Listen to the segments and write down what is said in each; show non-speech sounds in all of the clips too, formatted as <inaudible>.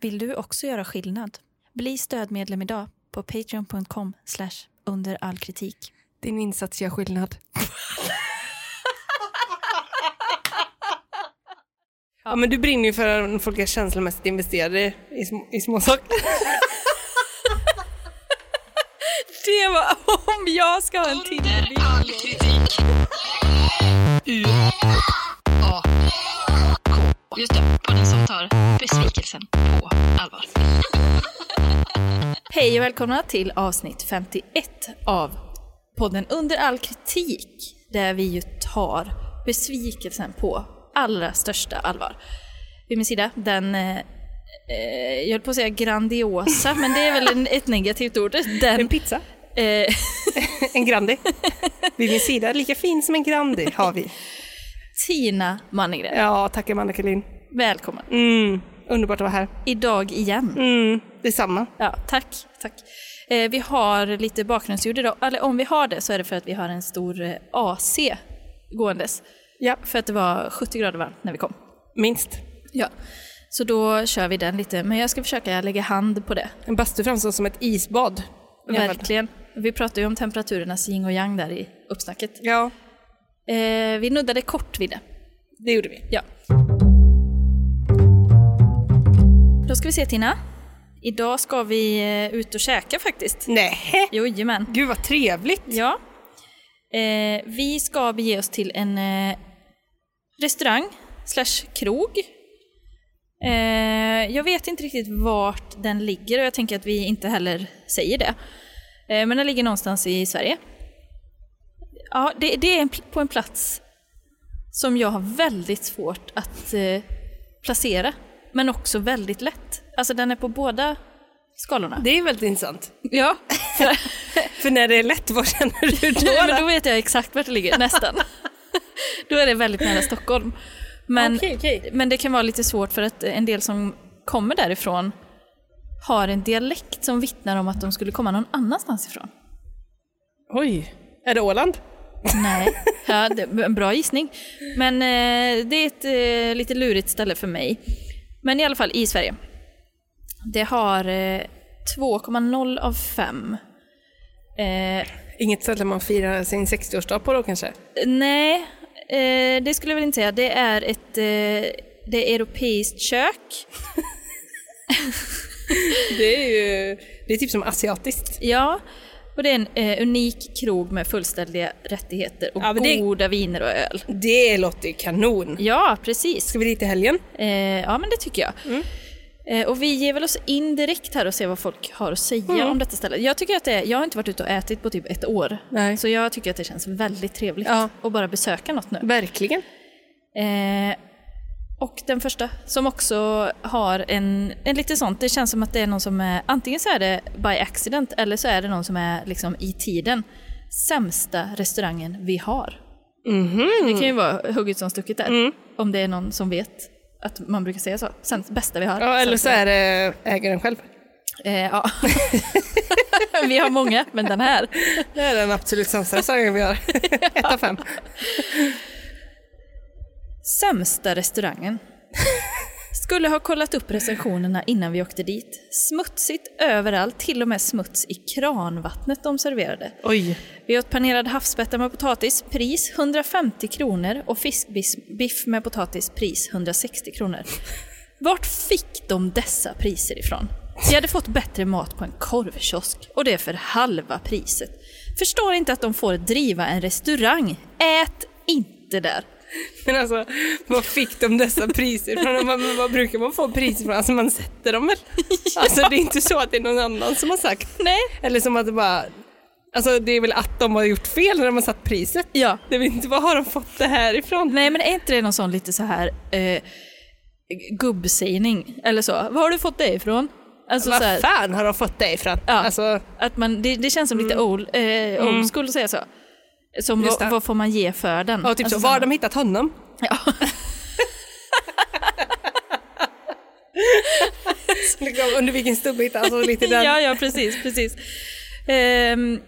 Vill du också göra skillnad? Bli stödmedlem idag på patreon.com under all kritik. Din insats gör skillnad. <laughs> ja, men du brinner ju för att folk är känslomässigt investerade i, små, i <laughs> småsaker. Det var om jag ska ha en till. all kritik. U A K. Just det, podden som tar besvikelsen på allvar. <laughs> Hej och välkomna till avsnitt 51 av podden Under all kritik där vi ju tar besvikelsen på allra största allvar. Vid min sida, den eh, eh, jag höll på att säga grandiosa, men det är väl en, ett negativt ord. <laughs> Den, En pizza, eh, en Grandi. Vid min sida, lika fin som en Grandi har vi. Tina Mannegren, Ja, tack Amanda Kalin. välkommen. Mm, underbart att vara här. Idag igen. Mm, detsamma. Ja, tack. tack. Eh, vi har lite bakgrundsljud idag, eller om vi har det så är det för att vi har en stor eh, AC gåendes. Ja, För att det var 70 grader varmt när vi kom. minst. Ja. Så då kör vi den lite, men jag ska försöka lägga hand på det. En bastu framstår som ett isbad. I alla fall. Verkligen. Vi pratade ju om temperaturernas yin och yang där i uppsnacket. Ja, Eh, vi nuddade kort vid det. det gjorde vi. Ja. Då ska vi se Tina. Idag ska vi eh, ut och käka faktiskt. Nej. Jojomän. Gud vad trevligt. Ja. Eh, vi ska bege oss till en eh, restaurang slash krog. Eh, jag vet inte riktigt vart den ligger och jag tänker att vi inte heller säger det. Eh, men den ligger någonstans i Sverige. Ja, det, det är en, pl- på en plats som jag har väldigt svårt att eh, placera, men också väldigt lätt. Alltså den är på båda skalorna. Det är väldigt intressant. Ja. För när det är lätt, vad känner du då? Nej, men då? då vet jag exakt vart det ligger, nästan. <laughs> då är det väldigt nära Stockholm. Men, Okej, okej. men det kan vara lite svårt för att en del som kommer därifrån har en dialekt som vittnar om att de skulle komma någon annanstans ifrån. Oj, är det Åland? <laughs> Nej, ja, det, en bra gissning. Men eh, det är ett eh, lite lurigt ställe för mig. Men i alla fall i Sverige. Det har eh, 2,0 av 5. Eh, Inget ställe man firar sin 60-årsdag på då kanske? Nej, eh, det skulle jag väl inte säga. Det är ett eh, det är europeiskt kök. Det är ju det är typ som asiatiskt. Ja, och det är en eh, unik krog med fullständiga rättigheter och Ja, men det- goda viner och öl. Det låter ju kanon. Ja, precis. Ska vi dit i helgen? Eh, ja, men det tycker jag. Mm. Eh, och vi ger väl oss in direkt här och ser vad folk har att säga Mm. om detta stället. Jag tycker att det är, jag har inte varit ute och ätit på typ ett år. Nej. Så jag tycker att det känns väldigt trevligt Ja. att bara besöka något nu. Verkligen. Eh, och den första som också har en, en lite sånt, det känns som att det är någon som är, antingen så är det by accident eller så är det någon som är liksom i tiden sämsta restaurangen vi har. Mhm. Det kan ju vara hugget som stucket där, Mm. om det är någon som vet att man brukar säga så. Sämst, bästa vi har. Ja, eller så Sämsta vi är det ägaren själv. har. Eh, ja. <laughs> vi har många, men den här. Det är den absolut sämsta restaurangen vi har. <laughs> Ett av fem. Sämsta restaurangen. Skulle ha kollat upp recensionerna innan vi åkte dit. Smutsigt överallt, till och med smuts i kranvattnet de serverade. Oj. Vi åt panerad havsbetta med potatis, pris 150 kronor och fiskbiff med potatis, pris 160 kronor. Vart fick de dessa priser ifrån? Vi hade fått bättre mat på en korvkiosk och det är för halva priset. Förstår inte att de får driva en restaurang. Ät inte där! Men alltså, vad fick de dessa priser från? Vad, vad brukar man få priser från? Alltså man sätter <laughs> dem väl? Alltså det är inte så att det är någon annan som har sagt. Nej, Eller som att det bara... Alltså det är väl att de har gjort fel när de har satt priset? Ja. Det vill inte, var har de fått det här ifrån? Nej men är inte det någon sån lite så här eh, gubbsägning eller så? Var har du fått det ifrån? Alltså så här, Vad fan har de fått det ifrån? Ja. Alltså, att man, det, det känns som lite old, eh, old school att säga så. Som Mm. Just vad, det. vad får man ge för den? ja, typ alltså, så, var har så- de hittat honom? Ja. Liksom, under vilken stubbe hittade alltså, lite <laughs> den? ja, ja precis, precis. Ehm,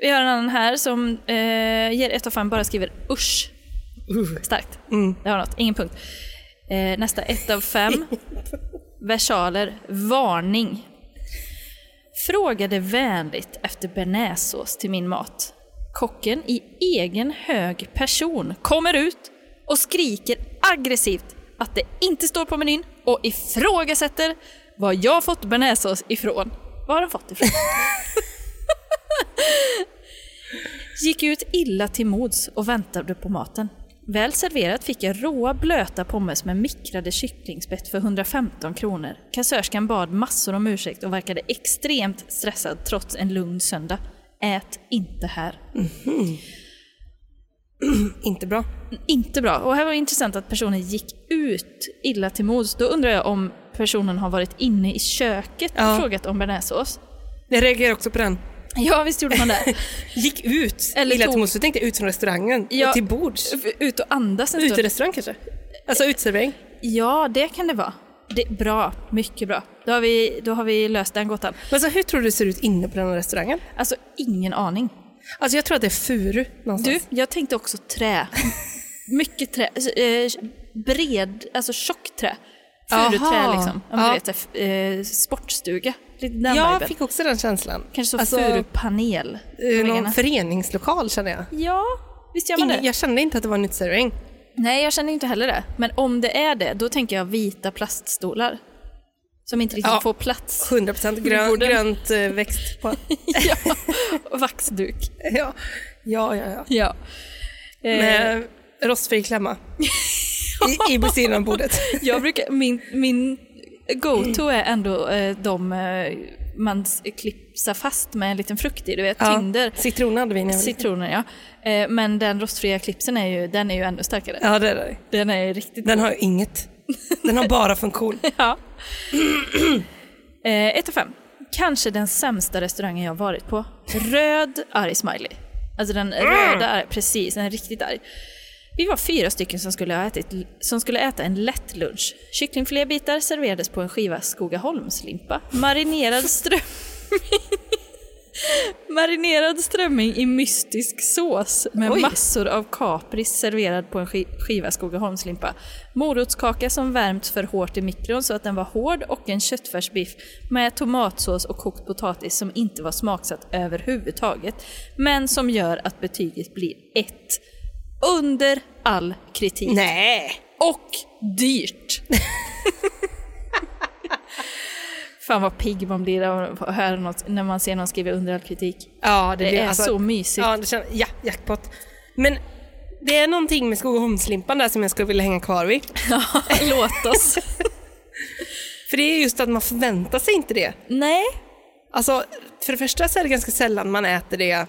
vi har en annan här som eh, ger ett av fem, bara skriver usch. Mm. <laughs> Starkt. Det har något, ingen punkt. Eh, nästa, ett av fem. versaler, varning. Frågade vänligt efter bearnaisesås till min mat. Kocken i egen hög person kommer ut och skriker aggressivt att det inte står på menyn och ifrågasätter var jag fått bearnaisesås ifrån. Var har den fått ifrån? Gick ut illa till mods och väntade på maten. Väl serverat fick jag råa blöta pommes med mikrade kycklingspett för 115 kronor. Kassörskan bad massor om ursäkt och verkade extremt stressad trots en lugn söndag. Ät inte här. Inte bra. Mm, Inte bra. Och här var det intressant att personen gick ut illa till mods. Då undrar jag om personen har varit inne i köket och Ja. frågat om bearnaisesås. Jag reagerar också på den. Ja, visst gjorde man det. <laughs> Gick ut. Eller Eller illa tog- till mods, så tänkte jag ut från restaurangen. Ja. Och till bords. ut och andas en stund. Uterestaurang kanske? Alltså uteservering. Ja, det kan det vara. Det, bra, mycket bra. Då har, vi, då har vi löst den gåtan. Men så hur tror du det ser ut inne på den här restaurangen? Alltså, ingen aning. Alltså jag tror att det är furu Du, någonstans. jag tänkte också trä. <laughs> Mycket trä. Eh, bred, alltså tjockt trä. Furuträ Aha. liksom. Om du Ja. vet, så här, eh, sportstuga. Lite den jag viben. fick också den känslan. Kanske så Alltså, furupanel. eh, Väggarna. Någon föreningslokal känner jag. Ja, visst gör man Ingen, det? jag kände inte att det var en uteservering. Nej, jag känner inte heller det. Men om det är det, då tänker jag vita plaststolar. Som inte riktigt Ja. får plats. 100% grön, Jorden. grönt eh, växt på. <laughs> <laughs> ja, <laughs> och vaxduk. ja, ja, ja. ja. Ja. Eh, Med <laughs> rostfri klämma. I, I på sidan av bordet. jag brukar, min, min go-to är ändå eh, de eh, man s- klipsar fast med en liten frukt i, du vet, Ja. Tinder. Citron hade vi när jag var liten. Citroner ja. Eh, men den rostfria klipsen är ju, den är ju ännu starkare. Ja, det är det. Den är ju riktigt Den har ju inget. Den har <laughs> bara funktion. Ja. eh, ett av fem. Kanske den sämsta restaurangen jag varit på. Röd arg smiley. Alltså den röda arg, precis, den är riktigt arg. Vi var fyra stycken som skulle, ha ätit, som skulle äta en lätt lunch. Kycklingfilébitar serverades på en skiva Skogaholmslimpa. Marinerad strömming. <laughs> Marinerad strömming i mystisk sås med Oj. massor av kapris serverad på en ski- skiva Skogaholmslimpa. Morotskaka som värmts för hårt i mikron så att den var hård och en köttfärsbiff med tomatsås och kokt potatis som inte var smaksatt överhuvudtaget. Men som gör att betyget blir ett. Under all kritik. Nej! Och dyrt. <laughs> Fan vad pigg man blir av att höra något när man ser någon skriva under all kritik. <laughs> Ja, det, Det blir, är alltså- så mysigt. Ja, det känns, ja, jackpot. Men det är någonting med Skogaholmslimpan där som jag skulle vilja hänga kvar vid. Låt oss. För det är just att man förväntar sig inte det. Nej. Alltså, för det första så är det ganska sällan man äter det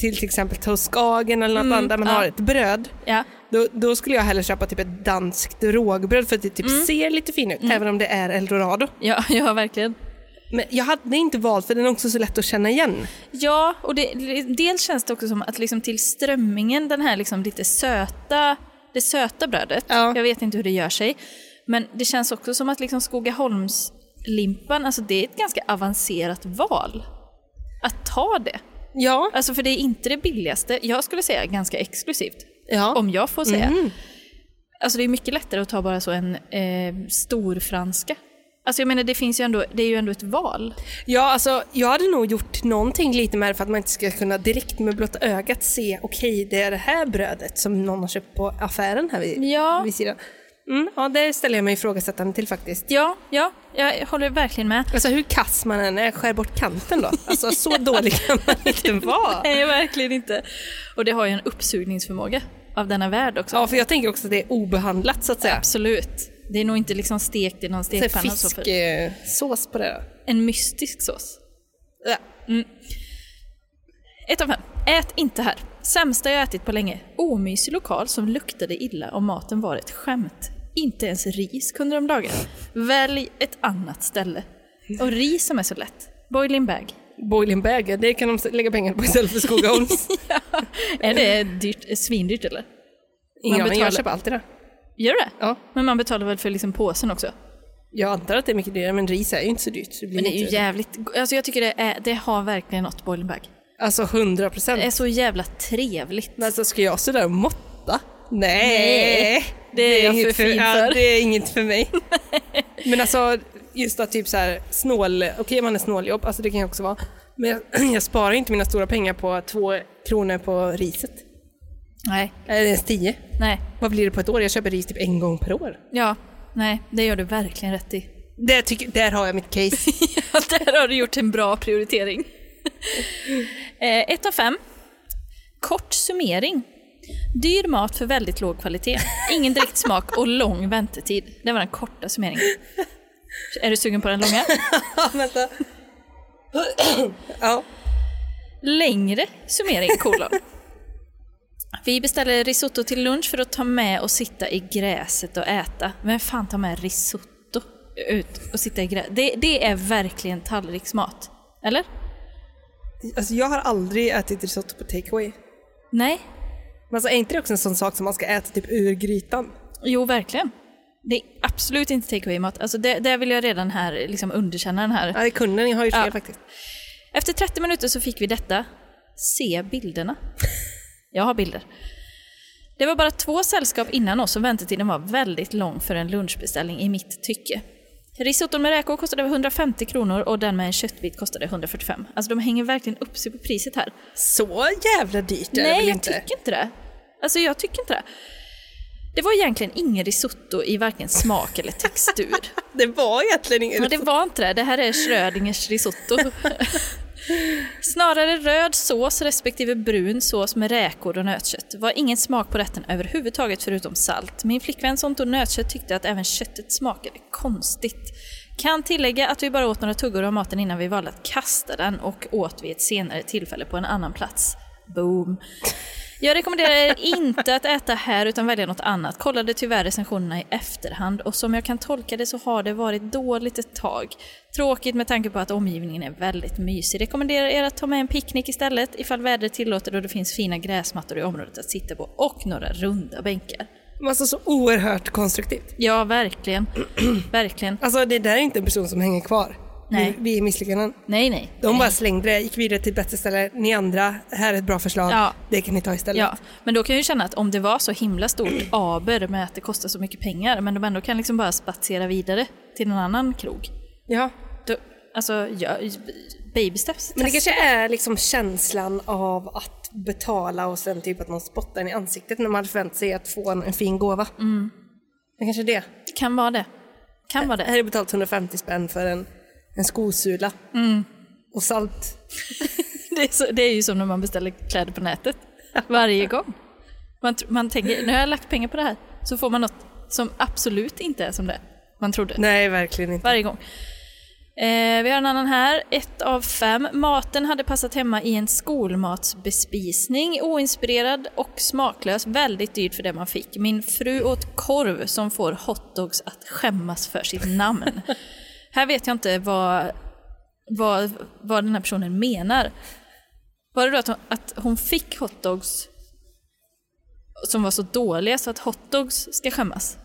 till till exempel Toskagen eller något annat där man ja. har ett bröd. Ja. Då, då skulle jag hellre köpa typ ett danskt rågbröd för att det typ ser lite fint ut, även om det är eldorado. Ja, <laughs> ja, verkligen. Men jag hade inte valt för den är också så lätt att känna igen. Ja, och det, dels känns det också som att liksom till strömmingen, den här liksom lite söta, det söta brödet, Ja. jag vet inte hur det gör sig, men det känns också som att liksom Skogaholmslimpan, alltså det är ett ganska avancerat val att ta det. Ja, Alltså för det är inte det billigaste, jag skulle säga ganska exklusivt, ja. Mm. om jag får säga. Alltså det är mycket lättare att ta bara så en eh, stor franska. Alltså jag menar det finns ju ändå, det är ju ändå ett val. ja alltså, jag hade nog gjort någonting lite med det för att man inte ska kunna direkt med blotta ögat se okej, det är det här brödet som någon har köpt på affären här vid, Ja. vid sidan. Mm, ja, det ställer jag mig ifrågasättande till faktiskt. Ja, ja, jag håller verkligen med. Alltså hur kass man än är, skär bort kanten då. Alltså så dålig kan <laughs> man inte vara. Nej, verkligen inte. Och det har ju en uppsugningsförmåga av denna värld också. Ja, för jag tänker också att det är obehandlat så att säga. Absolut. Det är nog inte liksom stekt i någon Så stekpanna. och så, alltså för- fisksås på det då. En mystisk sås. Ja. Ett av fem. Ät inte här. Sämsta jag ätit på länge. Omysig lokal som luktade illa och maten var ett skämt. Inte ens ris kunde de laga. Välj ett annat ställe. Och ris som är så lätt. Boiling <laughs> bag. Boiling bag, ja, det kan de lägga pengar på istället <laughs> för Skogaholms. Är det dyrt, svindyrt eller? Ingen aning, betalar. jag köper alltid det. Gör det? Ja. Men man betalar väl för liksom påsen också? Jag antar att det är mycket dyrare, men ris är ju inte så dyrt. så Det blir Men det är ju inte- jävligt... go- Alltså jag tycker det, är, det har verkligen något boilingbag. Alltså 100 Det är procent. så jävla trevligt. Men alltså ska jag stå där och måtta? Nej, Nej, det är jag inget för fin ja, för. det är inget för mig. <laughs> men alltså, just att typ så här snål, okej man är snåljobb, alltså det kan jag också vara. Men jag, <clears throat> jag sparar inte mina stora pengar på två kronor på riset. Nej. Eller ens tio. Nej. Vad blir det på ett år? Jag köper ris typ en gång per år. Ja. Nej, det gör du verkligen rätt i. <laughs> Där, tycker, där har jag mitt case. Ja, där har du gjort en bra prioritering. <laughs> Eh, Ett av fem. Kort summering. Dyr mat för väldigt låg kvalitet, ingen dräktsmak och lång väntetid. Det var den korta summeringen. Är du sugen på den långa? ja, vänta. <clears throat> ja. Längre summering, kolon. <laughs> Vi beställer risotto till lunch för att ta med och sitta i gräset och äta. Vem fan tar med risotto ut och sitta i gräset? Det, det är verkligen tallriksmat. Eller? Alltså jag har aldrig ätit risotto på takeaway. Nej, Men alltså är inte det också en sån sak som man ska äta typ ur grytan? Jo, verkligen. Det är absolut inte take away-mat. Alltså det, det vill jag redan här liksom underkänna den här. Ja, det kunde ni har ju fel Ja. faktiskt. Efter 30 minuter så fick vi detta. Se bilderna. Jag har bilder. Det var bara två sällskap innan oss och väntetiden var väldigt lång för en lunchbeställning i mitt tycke. Risotton med räkor kostade 150 kronor och den med en köttbit kostade 145. Alltså de hänger verkligen upp sig på priset här. Så jävla dyrt är det Nej, väl jag inte? tycker inte det. Alltså jag tycker inte det. Det var egentligen ingen risotto i varken smak eller textur. Det var egentligen ingen Men det var inte det, det här är Schrödingers risotto. Snarare röd sås respektive brun sås med räkor och nötkött. Var ingen smak på rätten överhuvudtaget förutom salt. Min flickvän som tog nötkött tyckte att även köttet smakade konstigt. Kan tillägga att vi bara åt några tuggor av maten innan vi valde att kasta den och åt vid ett senare tillfälle på en annan plats. Boom. Jag rekommenderar er inte att äta här utan välja något annat. Kollade tyvärr recensionerna i efterhand och som jag kan tolka det så har det varit dåligt ett tag. Tråkigt med tanke på att omgivningen är väldigt mysig. Rekommenderar er att ta med en picknick istället ifall vädret tillåter och det finns fina gräsmattor i området att sitta på och några runda bänkar. Men Alltså så oerhört konstruktivt. Ja, verkligen. <clears throat> verkligen. Alltså det där är inte en person som hänger kvar. Nej. Vi, vi är misslyckanden. Nej, nej. De bara slängde det, gick vidare till bättre ställe. Ni andra, här är ett bra förslag. Ja. Det kan ni ta istället. Ja, men då kan jag ju känna att om det var så himla stort aber med att det kostar så mycket pengar men de ändå kan liksom bara spatsera vidare till någon annan krog. ja. Då, alltså, ja, baby steps. Men det kanske är liksom känslan av att betala och sen typ att någon spottar en i ansiktet när man hade förväntat sig att få en, en fin gåva. Mm. Det kanske är det. kan vara det. Kan vara det. Här är betalt 150 spänn för en, en skosula. Mm. Och salt. <laughs> Det är, så, det är ju som när man beställer kläder på nätet. Varje gång. Man, tr- man tänker, nu har jag lagt pengar på det här. Så får man något som absolut inte är som det man trodde. Nej, verkligen inte. Varje gång. Eh, vi har en annan här. Ett av fem. Maten hade passat hemma i en skolmatsbespisning. Oinspirerad och smaklös. Väldigt dyrt för det man fick. Min fru åt korv som får hotdogs att skämmas för sitt namn. här vet jag inte vad, vad, vad den här personen menar. Var det då att hon, att hon fick hotdogs som var så dåliga så att hotdogs ska skämmas?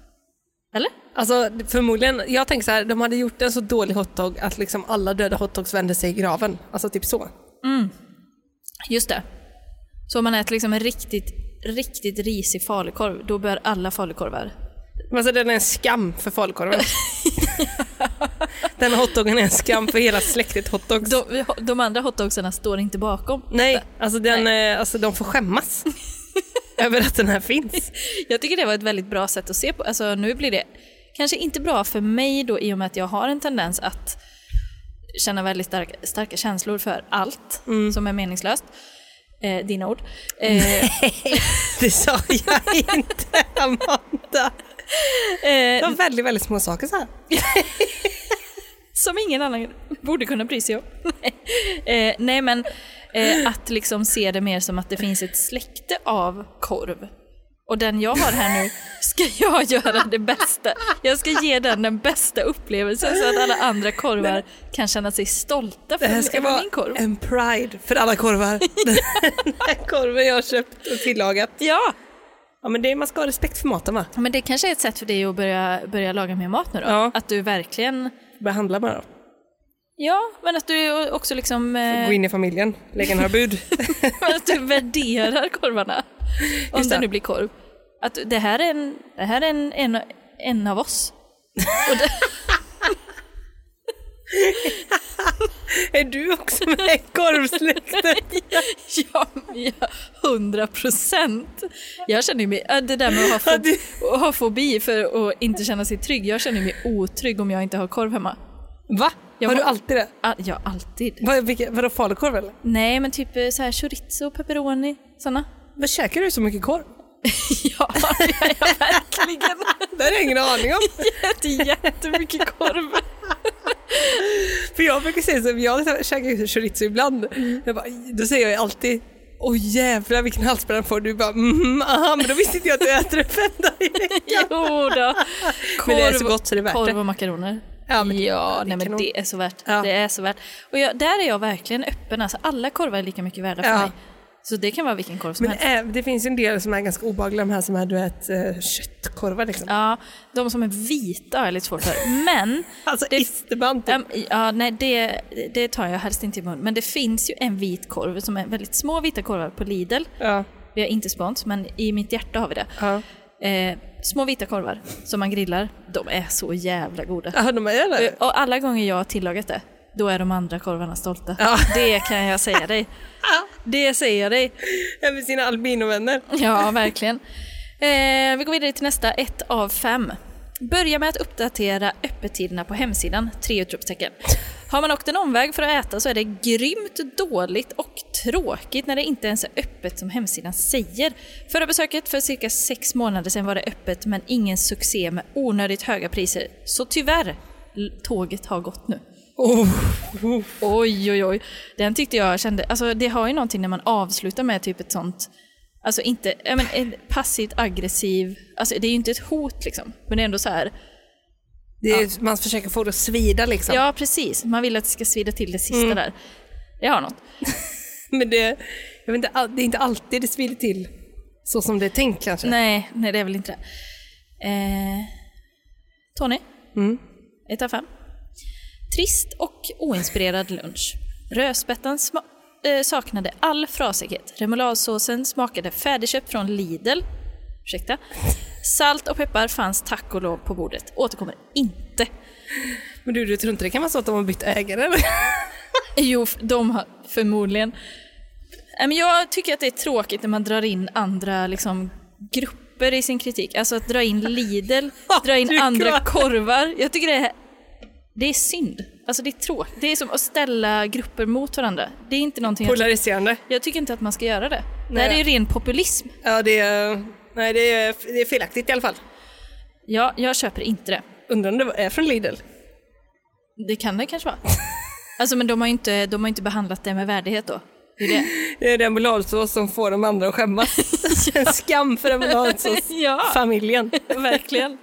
Eller? Alltså förmodligen, jag tänker så här, de hade gjort en så dålig hotdog att liksom alla döda hotdogs vände sig i graven. Alltså typ så. Just det. Så om man äter liksom en riktigt, riktigt risig falukorv, då bör alla falukorvar... Men alltså den är en skam <laughs> för falukorven. den hotdogen är en skam för hela släktet hotdogs. De, de andra hotdogsarna står inte bakom. Nej, alltså, den, eh, alltså de <laughs> får skämmas över att den här finns. Jag tycker det var ett väldigt bra sätt att se på. Alltså nu blir det kanske inte bra för mig då i och med att jag har en tendens att känna väldigt starka, starka känslor för allt som är meningslöst. Eh, dina ord. Eh, Det sa jag inte, Amanda. eh, Det var väldigt, väldigt små saker så här. Som ingen annan borde kunna bry sig om. <laughs> eh, nej men eh, att liksom se det mer som att det finns ett släkte av korv. Och den jag har här nu ska <laughs> jag göra det bästa. Jag ska ge den den bästa upplevelsen så att alla andra korvar kan känna sig stolta Det för här ska över vara min korv. en pride för <laughs> alla korvar. Den här korven jag har köpt och tillagat. Ja, Ja men det, man ska ha respekt för maten va? men det kanske är ett sätt för dig att börja, börja laga mer mat nu då? Ja. Att du verkligen, Behandla bara. ja, men att du också liksom, eh, Gå in i familjen, lägga <laughs> några bud. Men att du värderar korvarna. Om Just det det. nu blir korv. Att det här är en, det här är en, en, en av oss. Och det, Är du också med i korvsläkten? <laughs> Ja, ja, hundra procent. Jag känner mig, äh, det där med att ha, Ja, fobi, du- att ha fobi för att inte känna sig trygg. Jag känner mig otrygg om jag inte har korv hemma. Va? Jag har har- du alltid det? Ah, Ja, alltid. Vad, vilka, vadå falukorv eller? Nej, men typ eh, så här chorizo, pepperoni, <laughs> sådana. Vad käkar du så mycket korv? Ja, ja, ja, <laughs> verkligen. Det har jag ingen aning om. Jag äter jättemycket korv. För jag brukar säga så, jag käkar chorizo ibland. Mm. Jag bara, då säger jag ju alltid Åh jävlar vilken halsbränna får du. bara mm, aha, men då visste inte jag att du äter det fem dagar i veckan. Jo då. Men det är så gott så det är värt korv det. och makaroner. Ja, men <laughs> det- ja, det nej, men kanon. det är så värt. Ja. Det är så värt. Och jag, där är jag verkligen öppen. Alltså, alla korvar är lika mycket värda för Ja. mig. Så det kan vara vilken korv som Men helst. ä- det finns ju en del som är ganska obehagliga, de här som är du vet, eh, köttkorvar liksom. Ja, de som är vita har jag lite svårt <laughs> för. Men, Alltså det- isterband typ. äm, ja, nej, det, det tar jag helst inte i mun. Men det finns ju en vit korv som är väldigt små vita korvar på Lidl. Ja. Vi har inte spons, men i mitt hjärta har vi det. Ja. Eh, små vita korvar som man grillar. De är så jävla goda. ja, de är det. Och alla gånger jag har tillagat det, då är de andra korvarna stolta. Ja. Det kan jag säga dig. Det säger jag dig. Även sina albinovänner. <laughs> Ja, verkligen. Eh, vi går vidare till nästa, ett av fem. Börja med att uppdatera öppettiderna på hemsidan, tre utropstecken. Har man åkt en omväg för att äta så är det grymt dåligt och tråkigt när det inte ens är öppet som hemsidan säger. Förra besöket för cirka sex månader sedan var det öppet men ingen succé med onödigt höga priser. Så tyvärr, l- tåget har gått nu. Oj, oj, oj. Den tyckte jag kände, alltså det har ju någonting när man avslutar med typ ett sånt, alltså inte, ja men en passivt aggressiv, alltså det är ju inte ett hot liksom, men det är ändå så här. Det är, Man försöker få det att svida liksom. Ja, precis, man vill att det ska svida till det sista där. Det har något. Men det, jag vet inte, all- det är inte alltid det svider till så som det är tänkt kanske. Nej, nej det är väl inte det. Eh, Tony? Ett av fem. Trist och oinspirerad lunch. Rödspätten sma- eh, saknade all frasighet. Remouladsåsen smakade färdigköpt från Lidl. Ursäkta. Salt och peppar fanns tack och lov på bordet. Återkommer inte. Men du, du tror inte det kan vara så att de har bytt ägare? eller? Jo, f- de har förmodligen. Nej, men Jag tycker att det är tråkigt när man drar in andra liksom, grupper i sin kritik. Alltså att dra in Lidl, dra in Du andra kan- korvar. Jag tycker det är, det är synd. Alltså det är tråkigt. Det är som att ställa grupper mot varandra. Det är inte någonting jag, <laughs> Polariserande. jag tycker inte att man ska göra det. Det här är Nej. ju ren populism. Ja, det är, nej, det är, det är felaktigt i alla fall. Ja, jag köper inte det. Undrar om det är från Lidl? Det kan det kanske vara. Alltså men de har ju inte, de har ju inte behandlat det med värdighet då. Det är det. Det är den bolagsås som får de andra att <laughs> skämmas. En skam för den <laughs> bolagsås. Ja. Familjen. <laughs> Verkligen.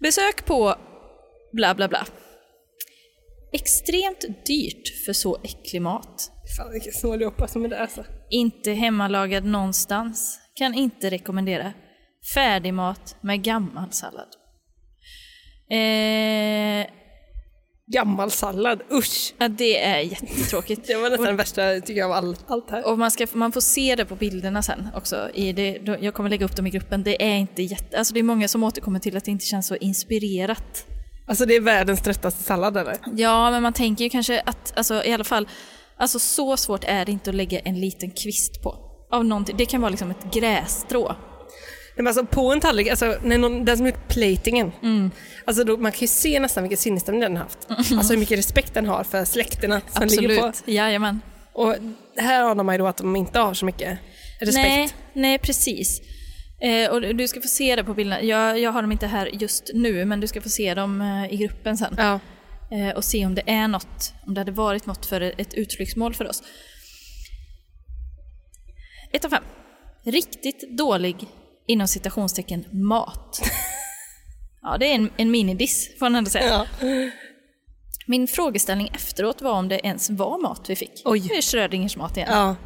Besök på bla bla bla. Extremt dyrt för så äcklig mat. Fan vilken snåljåpa som är där alltså. Inte hemmalagad någonstans. Kan inte rekommendera. Färdigmat med gammal sallad. Eh, Gammal sallad, usch. ja, det är jättetråkigt. <laughs> Det var nästan den värsta tycker jag av all, allt här. Och man, ska, man får se det på bilderna sen också. I det, då, jag kommer lägga upp dem i gruppen. Det är inte jätte... Alltså det är många som återkommer till att det inte känns så inspirerat. Alltså det är världens tröttaste sallad eller? Ja, men man tänker ju kanske att, alltså, i alla fall, alltså, så svårt är det inte att lägga en liten kvist på. Av någonting. Det kan vara liksom ett grässtrå. Nej, men alltså på en tallrik, alltså när någon, den som gjort platingen. Alltså då, man kan ju se nästan vilken sinnesstämning den har <laughs> haft. Alltså hur mycket respekt den har för släkterna som ligger på. Absolut. Jajamän. Och här anar man ju då att de inte har så mycket respekt. Nej, nej, precis. Eh, och du ska få se det på bilderna. Jag, jag har dem inte här just nu, men du ska få se dem eh, i gruppen sen. Ja. Eh, och se om det är något, om det hade varit något för ett utflyktsmål för oss. Ett av fem. Riktigt dålig, inom citationstecken, <laughs> mat. Ja, det är en, en minidiss får man ändå säga. Ja. Min frågeställning efteråt var om det ens var mat vi fick. Oj. Det är Schrödingers mat igen. ja.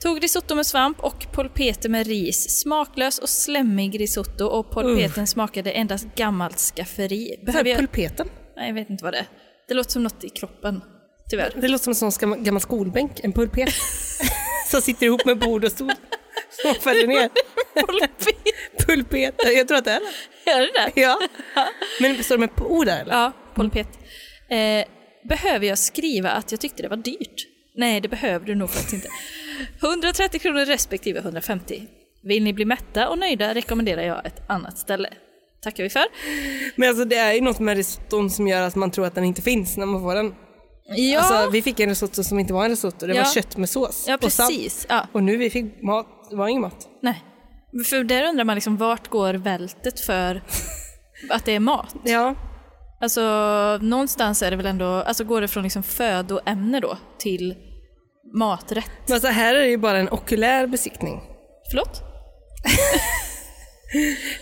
Tog risotto med svamp och polpete med ris. Smaklös och slemmig risotto och polpeten smakade endast gammalt skafferi. Så här, Behöver jag... Pulpeten. Nej, jag vet inte vad det är. Det låter som något i kroppen, tyvärr. Det låter som en sån skam- gammal skolbänk, en <laughs> pulpet. som sitter ihop med bord och stol. Som faller ner. <laughs> Polpet, <laughs> Pulpet, jag tror att det är det. är det det? Ja. Men står det med på O oh, där eller? Ja, polpet. Eh, behöver jag skriva att jag tyckte det var dyrt? Nej, det behöver du nog faktiskt inte. 130 kronor respektive 150. Vill ni bli mätta och nöjda rekommenderar jag ett annat ställe. Tackar vi för. Men alltså det är ju något med risotton som gör att man tror att den inte finns när man får den. Ja, Alltså vi fick en risotto som inte var en risotto, det Ja. var kött med sås ja och salt. precis. Ja. Och nu vi fick mat, det var ingen mat. Nej. För där undrar man liksom vart går vältet för att det är mat? Ja, Alltså någonstans är det väl ändå, alltså går det från liksom födoämne då till maträtt? men alltså här är det ju bara en okulär besiktning. Förlåt?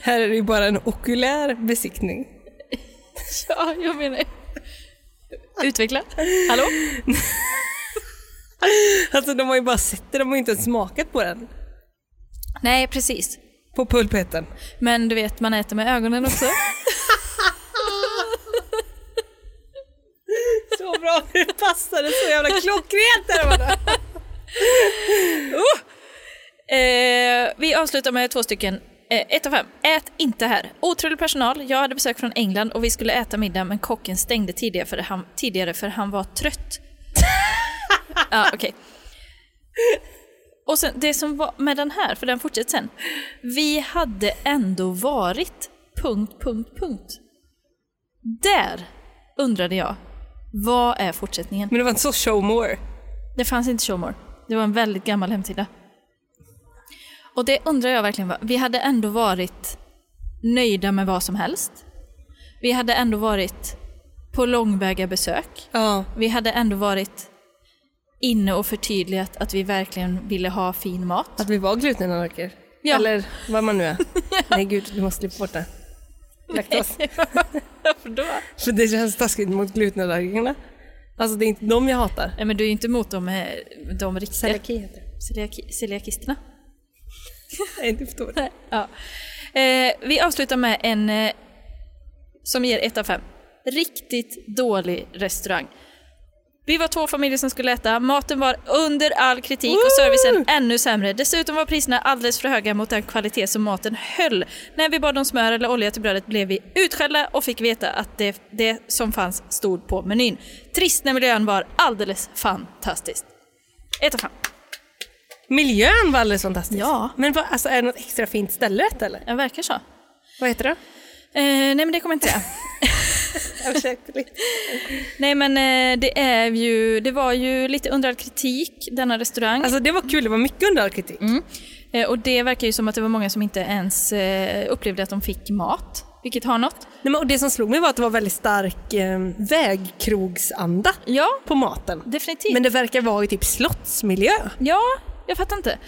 Här är det ju bara en okulär besiktning. <laughs> Ja, jag menar... Utveckla? Hallå? Alltså de har ju bara sett det, de har ju inte ens smakat på den. Nej, precis. På pulpeten. Men du vet, man äter med ögonen också. Så bra, det passade så jävla klockrent där var det. Eh, vi avslutar med två stycken. Eh, ett av fem. Ät inte här. Otrolig personal. Jag hade besök från England och vi skulle äta middag men kocken stängde tidigare för han, tidigare för han var trött. ja, okej. Och sen det som var med den här, för den fortsätter sen. Vi hade ändå varit... Punkt, punkt, punkt. Där undrade jag, vad är fortsättningen? Men det var inte så show more. Det fanns inte Showmore. Det var en väldigt gammal hemsida. Och det undrar jag verkligen. vad- Vi hade ändå varit nöjda med vad som helst. Vi hade ändå varit på långväga besök. Ja. Vi hade ändå varit inne och förtydligat att vi verkligen ville ha fin mat. Att vi var glutenallergiker. Ja. Eller vad man nu <laughs> är. Nej gud, du måste klippa bort det. <laughs> <laughs> Laktos. Varför då? För det känns taskigt mot glutenallergikerna. Alltså det är inte dem jag hatar. Nej, men du är ju inte emot de, eh, de riktiga Celiaki heter det. celiaki- celiakisterna. Nej, du förstår. Ja. Eh, vi avslutar med en eh, som ger ett av fem. Riktigt dålig restaurang. Vi var två familjer som skulle äta, maten var under all kritik och servicen ännu sämre. Dessutom var priserna alldeles för höga mot den kvalitet som maten höll. När vi bad om smör eller olja till brödet blev vi utskällda och fick veta att det, det som fanns stod på menyn. Trist när miljön var alldeles fantastisk. Ett av fem. Miljön var alldeles fantastisk. Ja. Men vad, alltså, är det något extra fint ställe rätt, eller? Det verkar så. Eh, Vad heter <laughs> det? nej men det kommer jag inte säga. Nej men eh, det, är ju, det var ju lite under all kritik, denna restaurang. alltså det var kul, det var mycket under all kritik. Eh, och det verkar ju som att det var många som inte ens eh, upplevde att de fick mat, vilket har något. Nej, men, och det som slog mig var att det var väldigt stark eh, vägkrogsanda Ja, på maten. definitivt. Men det verkar vara i typ slottsmiljö. Ja, jag fattar inte.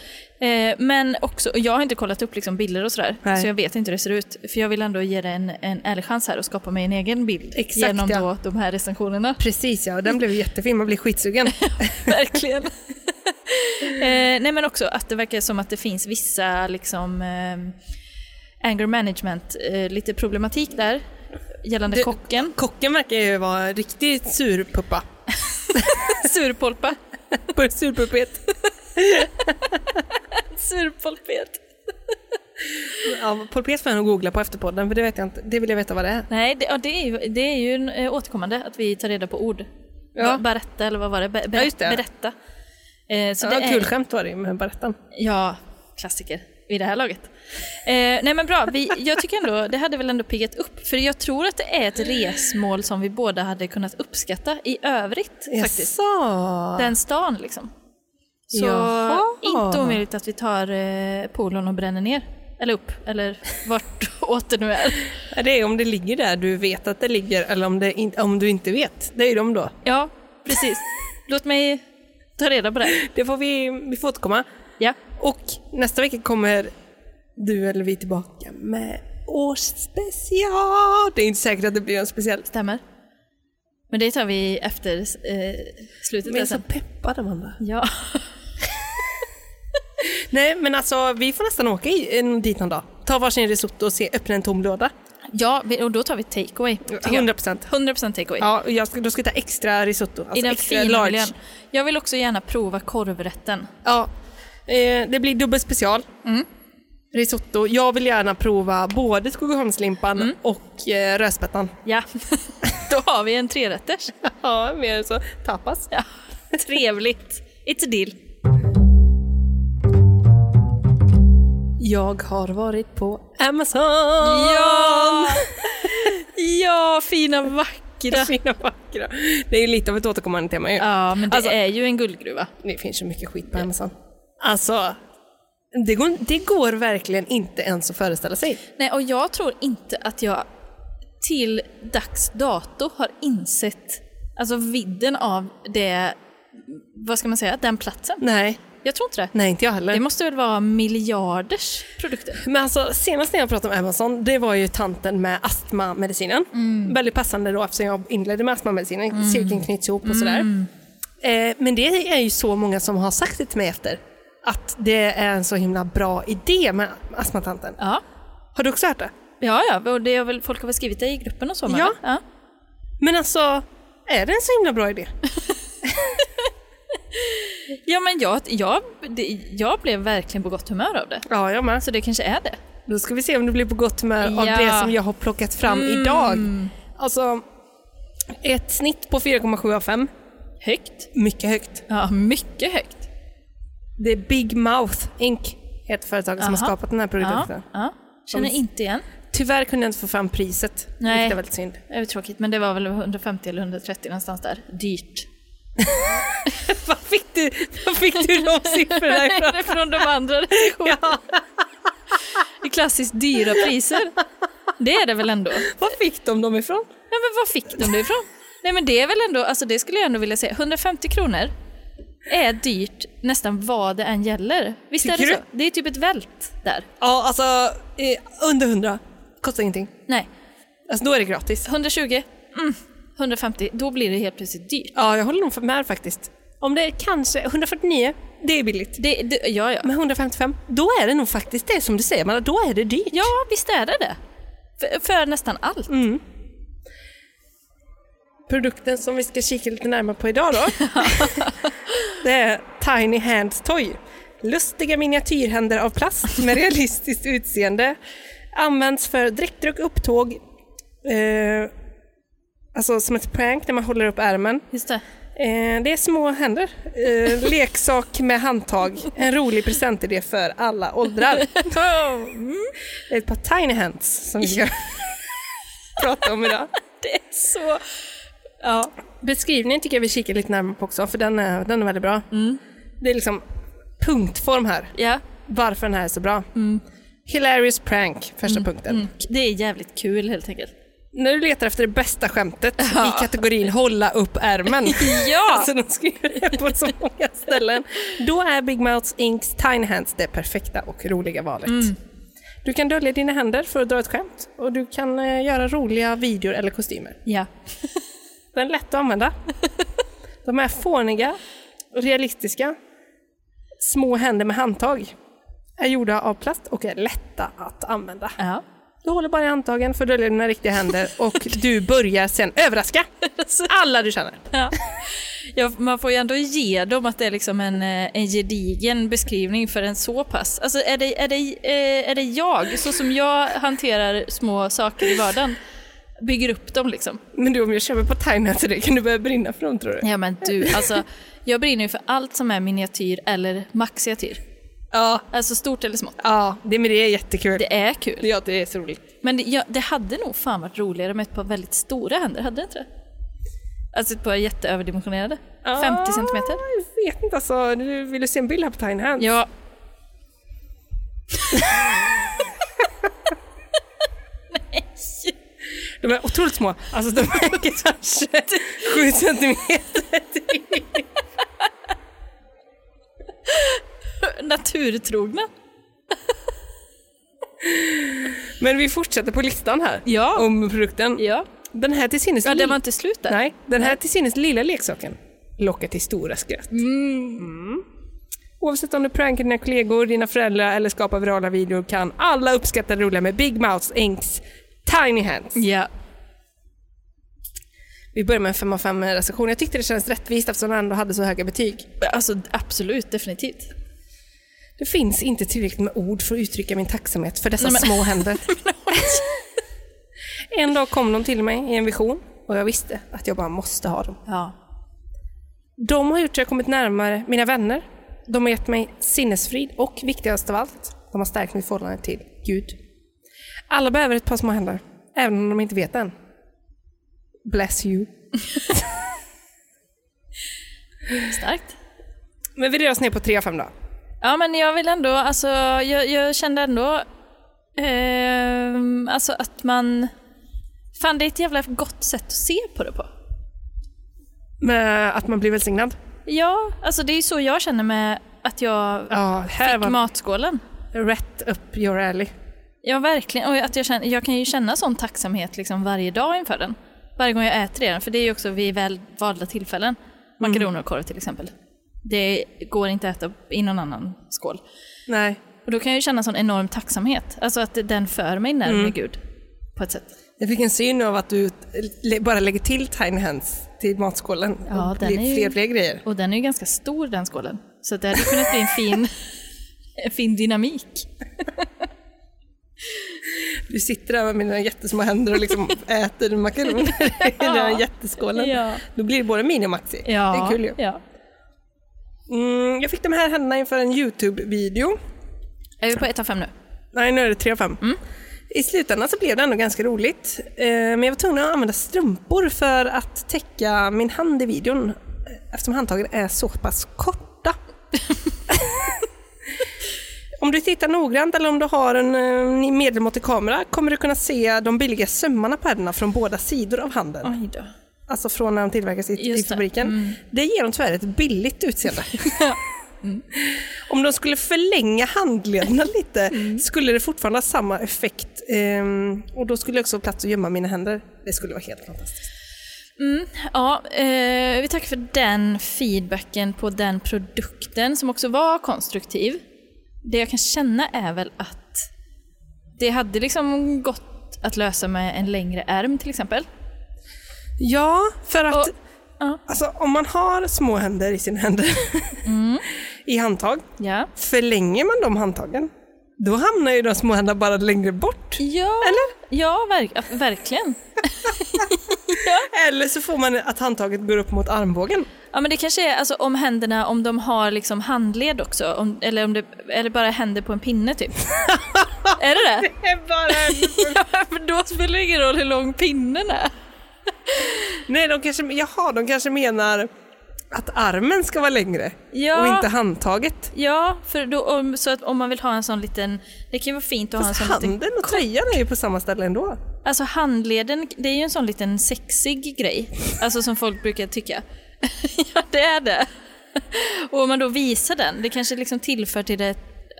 Eh, men också, och jag har inte kollat upp liksom bilder och sådär, Nej. så jag vet inte hur det ser ut. För jag vill ändå ge det en, en ärlig chans här och skapa mig en egen bild Exakt, genom ja. då, de här recensionerna. Precis ja, den blev jättefin, man blir skitsugen. <laughs> Verkligen. eh, nej men också att det verkar som att det finns vissa liksom eh, anger management, eh, lite problematik där gällande Du- kocken. <laughs> Kocken verkar ju vara en riktig surpuppa. Surpolpa. På surpuppet. Surpolpet. Ja, polpet får jag nog googla på efter podden för det vet jag inte, det vill jag veta vad det är. Nej, det, ja, det är ju, det är ju en, eh, återkommande att vi tar reda på ord. Ja. Ja. Berätta eller vad var det? Be, ber- Ja, just det. Berätta. Eh, så Så det det ja, är- kul skämt var det ju med berättan. Ja, klassiker vid det här laget. Eh, nej men bra, vi, jag tycker ändå, det hade väl ändå piggat upp. För jag tror att det är ett resmål som vi båda hade kunnat uppskatta i övrigt faktiskt. Jaså? Den stan liksom. Så Jaha. inte omöjligt att vi tar eh, polon och bränner ner. Eller upp, eller vart <laughs> åt det nu är. Ja, Det är om det ligger där du vet att det ligger eller om, det in, om du inte vet. Det är ju de då. Ja, precis. Låt mig ta reda på det. Det får vi, vi får återkomma. Ja. Och nästa vecka kommer du eller vi tillbaka med årsspecial. Det är inte säkert att det blir en speciell. Stämmer. Men det tar vi efter eh, slutet Men där jag är så sen. peppad Amanda. Ja. Nej men alltså vi får nästan åka i, en, dit någon dag. Ta varsin risotto och se, öppna en tom låda. Ja, vi- och då tar vi takeaway. tycker jag. 100 procent. 100% takeaway. Ja, och jag ska, då ska jag ta extra risotto. Alltså I den extra fina miljön. Jag vill också gärna prova korvrätten. Ja. Eh, det blir dubbel special. Risotto. Mm. Jag vill gärna prova både Skogaholmslimpan och eh, rödspättan. Ja. <laughs> Då har vi en trerätters. <laughs> Ja, mer än så. Tapas. <laughs> Ja, trevligt. It's a deal. Jag har varit på Amazon! <laughs> Ja! Ja, fina <laughs> vackra. Fina vackra. Det är ju lite av ett återkommande tema ju. Ja, men det Alltså- är ju en guldgruva. Det finns så mycket skit på Amazon. Alltså, det går, det går verkligen inte ens att föreställa sig. Nej, och jag tror inte att jag till dags dato har insett alltså vidden av det, vad ska man säga, den platsen. Nej, Jag tror inte det. nej inte jag heller. Det måste väl vara miljarders produkter? Men alltså senast när jag pratade om Amazon, det var ju tanten med astmamedicinen. Väldigt passande då eftersom jag inledde med astmamedicinen, cirkeln knyts ihop och sådär. Eh, men det är ju så många som har sagt det till mig efter, att det är en så himla bra idé med astmatanten. Ja. Har du också hört det? Ja, ja, och det har väl, folk har väl skrivit det i gruppen och så? men- Ja. ja. Men alltså, är det en så himla bra idé? Ja, men jag, jag, det, jag blev verkligen på gott humör av det. Ja, jag med. Så det kanske är det. Då ska vi se om du blir på gott humör av Ja. det som jag har plockat fram idag. Alltså, ett snitt på 4,7 av 5. Högt. Mycket högt. Ja, mycket högt. Det är Big Mouth Inc. heter företaget som har Aha. skapat den här produkten. Ja, ja. Känner inte igen. Tyvärr kunde jag inte få fram priset, Nej. vilket är väldigt <laughs> synd. Det är väl tråkigt, men det var väl 150 eller 130 någonstans där. Dyrt. Var fick du, var fick du <laughs> de siffrorna ifrån? Det är <laughs> Från de andra recensionerna. Ja, Det är klassiskt dyra priser. Det är det väl ändå? var fick de dem ifrån? Ja, men var fick de det ifrån? Nej, men det är väl ändå, alltså det skulle jag ändå vilja säga, 150 kronor är dyrt nästan vad det än gäller. Visst är Tycker det så? Det är typ ett vält där. Ja, alltså eh, under 100. Kostar ingenting. Nej, Alltså då är det gratis. 120, mm, 150, då blir det helt plötsligt dyrt. Ja, jag håller nog för- med faktiskt. Om det är kanske 149, det är billigt. Det, det, ja, ja. Men 155, då är det nog faktiskt det som du säger, men då är det dyrt. ja, visst är det det. För, för nästan allt. Produkten som vi ska kika lite närmare på idag då, det är Tiny Hands Toy. Lustiga miniatyrhänder av plast med realistiskt utseende. Används för dräktdruck, upptåg, eh, alltså som ett prank när man håller upp ärmen. Just det. Eh, det är små händer. Eh, leksak med handtag. En rolig presentidé för alla åldrar. Mm. Det är ett par tiny hands som vi ska <laughs> prata om idag. Det är så... Ja. Beskrivningen tycker jag vi kikar lite närmare på också, för den är, den är väldigt bra. Det är liksom punktform här, ja. varför den här är så bra. Hilarious prank, första punkten. Det är jävligt kul helt enkelt. När du letar efter det bästa skämtet i kategorin hålla upp ärmen. Ja! <laughs> Alltså de skriver det på så många ställen. Då är Big Mouths Inks Tiny Hands det perfekta och roliga valet. Du kan dölja dina händer för att dra ett skämt och du kan eh, göra roliga videor eller kostymer. Ja. Den är lätt att använda. De är fåniga, realistiska, små händer med handtag. Är gjorda av plast och är lätta att använda. ja. Du håller bara i handtagen för att dölja dina riktiga händer och du börjar sen överraska alla du känner. Ja. <laughs> Ja, man får ju ändå ge dem att det är liksom en, eh, en gedigen beskrivning för en så pass. Alltså är det, är, det, eh, är det jag, så som jag hanterar små saker i vardagen, bygger upp dem liksom? Men du, om jag köper på Tiny till dig, kan du börja brinna för dem tror du? Ja men du, alltså jag brinner ju för allt som är miniatyr eller maxiatyr. Ja, Alltså stort eller smått. ja det, men det är jättekul. Det är kul. Ja, det är så roligt. Men det, ja, det hade nog fan varit roligare med ett par väldigt stora händer, hade det inte det? Alltså ett par jätteöverdimensionerade. 50 centimeter. Ah, Jag vet inte alltså, du, vill du se en bild här på Tiny Hands? Ja. De är otroligt små. Alltså de är <laughs> <laughs> kanske 7 centimeter. Naturtrogna. Men vi fortsätter på listan här. Ja. Om produkten. Ah. Ja. Den här till sinnes... Ja, li- den var inte slut där. Nej, den här till sinnes lilla leksaken lockar till stora skratt. Mm. Oavsett om du prankar dina kollegor, dina föräldrar eller skapar virala videor kan alla uppskatta det roliga med Big Mouths Inks Tiny Hands. Ja. Vi börjar med en 5 av 5 recension. Jag tyckte det kändes rättvist eftersom den ändå hade så höga betyg. Alltså absolut, <laughs> definitivt. Det finns inte tillräckligt med ord för att uttrycka <laughs> min tacksamhet för dessa små händer. en dag kom de till mig i en vision Och jag visste att jag bara måste ha dem. Ja. De har gjort så jag kommit närmare mina vänner. De har gett mig sinnesfrid och viktigast av allt, de har stärkt mitt förhållande till Gud. Alla behöver ett par små händer, även om de inte vet än. Bless you. Starkt. Men vi rör oss ner på tre av fem då. Ja, men jag vill ändå, alltså, jag, jag kände ändå ehm, alltså att man... Fan, det är ett jävla gott sätt att se på det på. Med att man blir välsignad. Ja, alltså det är ju så jag känner med att jag Ja, här fick var matskålen. rätt upp your alley. Ja, verkligen. Och att jag, känner, jag kan ju känna sån tacksamhet liksom varje dag inför den. Varje gång jag äter i den, för det är ju också vid väl valda tillfällen. Makaroner och korv till exempel. Det går inte att äta i någon annan skål. Nej. Och då kan jag ju känna sån enorm tacksamhet. Alltså att den för mig närmare Mm. Gud. På ett sätt. Jag fick en syn av att du le- bara lägger till tiny hands till matskålen. Ja, och den blir är ju- fler fler grejer. Och den är ju ganska stor den skålen. Så att det hade kunnat bli en fin, <laughs> en fin dynamik. Du sitter där med dina jättesmå händer och <laughs> liksom äter makaroner i den här jätteskålen. Ja. Då blir det både mini och maxi. Ja, Det är kul ju. Ja. Mm, jag fick de här händerna inför en YouTube-video. Är vi på ett av fem nu? Nej, nu är det tre av fem. I slutändan så blev det ändå ganska roligt. Eh, Men jag var tvungen att använda strumpor för att täcka min hand i videon eh, eftersom handtagen är så pass korta. <laughs> om du tittar noggrant eller om du har en eh, medelmåttig kamera kommer du kunna se de billiga sömmarna på händerna från båda sidor av handen. Oj då. Alltså från när de tillverkas i, i Just det. Mm. fabriken. Det ger dem tyvärr ett <laughs> billigt utseende. <laughs> Om de skulle förlänga <laughs> handlederna lite Mm. skulle det fortfarande ha samma effekt. Ehm, och då skulle jag också ha plats att gömma mina händer. Det skulle vara helt fantastiskt. Ja, eh, vi tackar för den feedbacken på den produkten som också var konstruktiv. Det jag kan känna är väl att det hade liksom gått att lösa med en längre ärm till exempel. Ja, för att Och- ja. Alltså, om man har små händer i sina händer <laughs> Mm. i handtag, Ja. förlänger man de handtagen då hamnar ju de små händerna bara längre bort. Ja, Eller? ja verk- verkligen. Eller så får man att handtaget går upp mot armbågen. Ja men det kanske är alltså om händerna, om de har liksom handled också, om, eller om det eller bara händer på en pinne <laughs> typ. är det det? Det är bara ja, för då spelar det ingen roll hur lång pinnen är. Nej, de kanske, jaha, de kanske menar att armen ska vara längre Ja. och inte handtaget. Ja, för då, om, så att om man vill ha en sån liten, det kan ju vara fint att Fast ha en sån liten, handen och tröjan är ju på samma ställe ändå. alltså handleden, det är ju en sån liten sexig grej, alltså som folk brukar tycka. <laughs> ja det är det. Och om man då visar den, det kanske liksom tillför till det,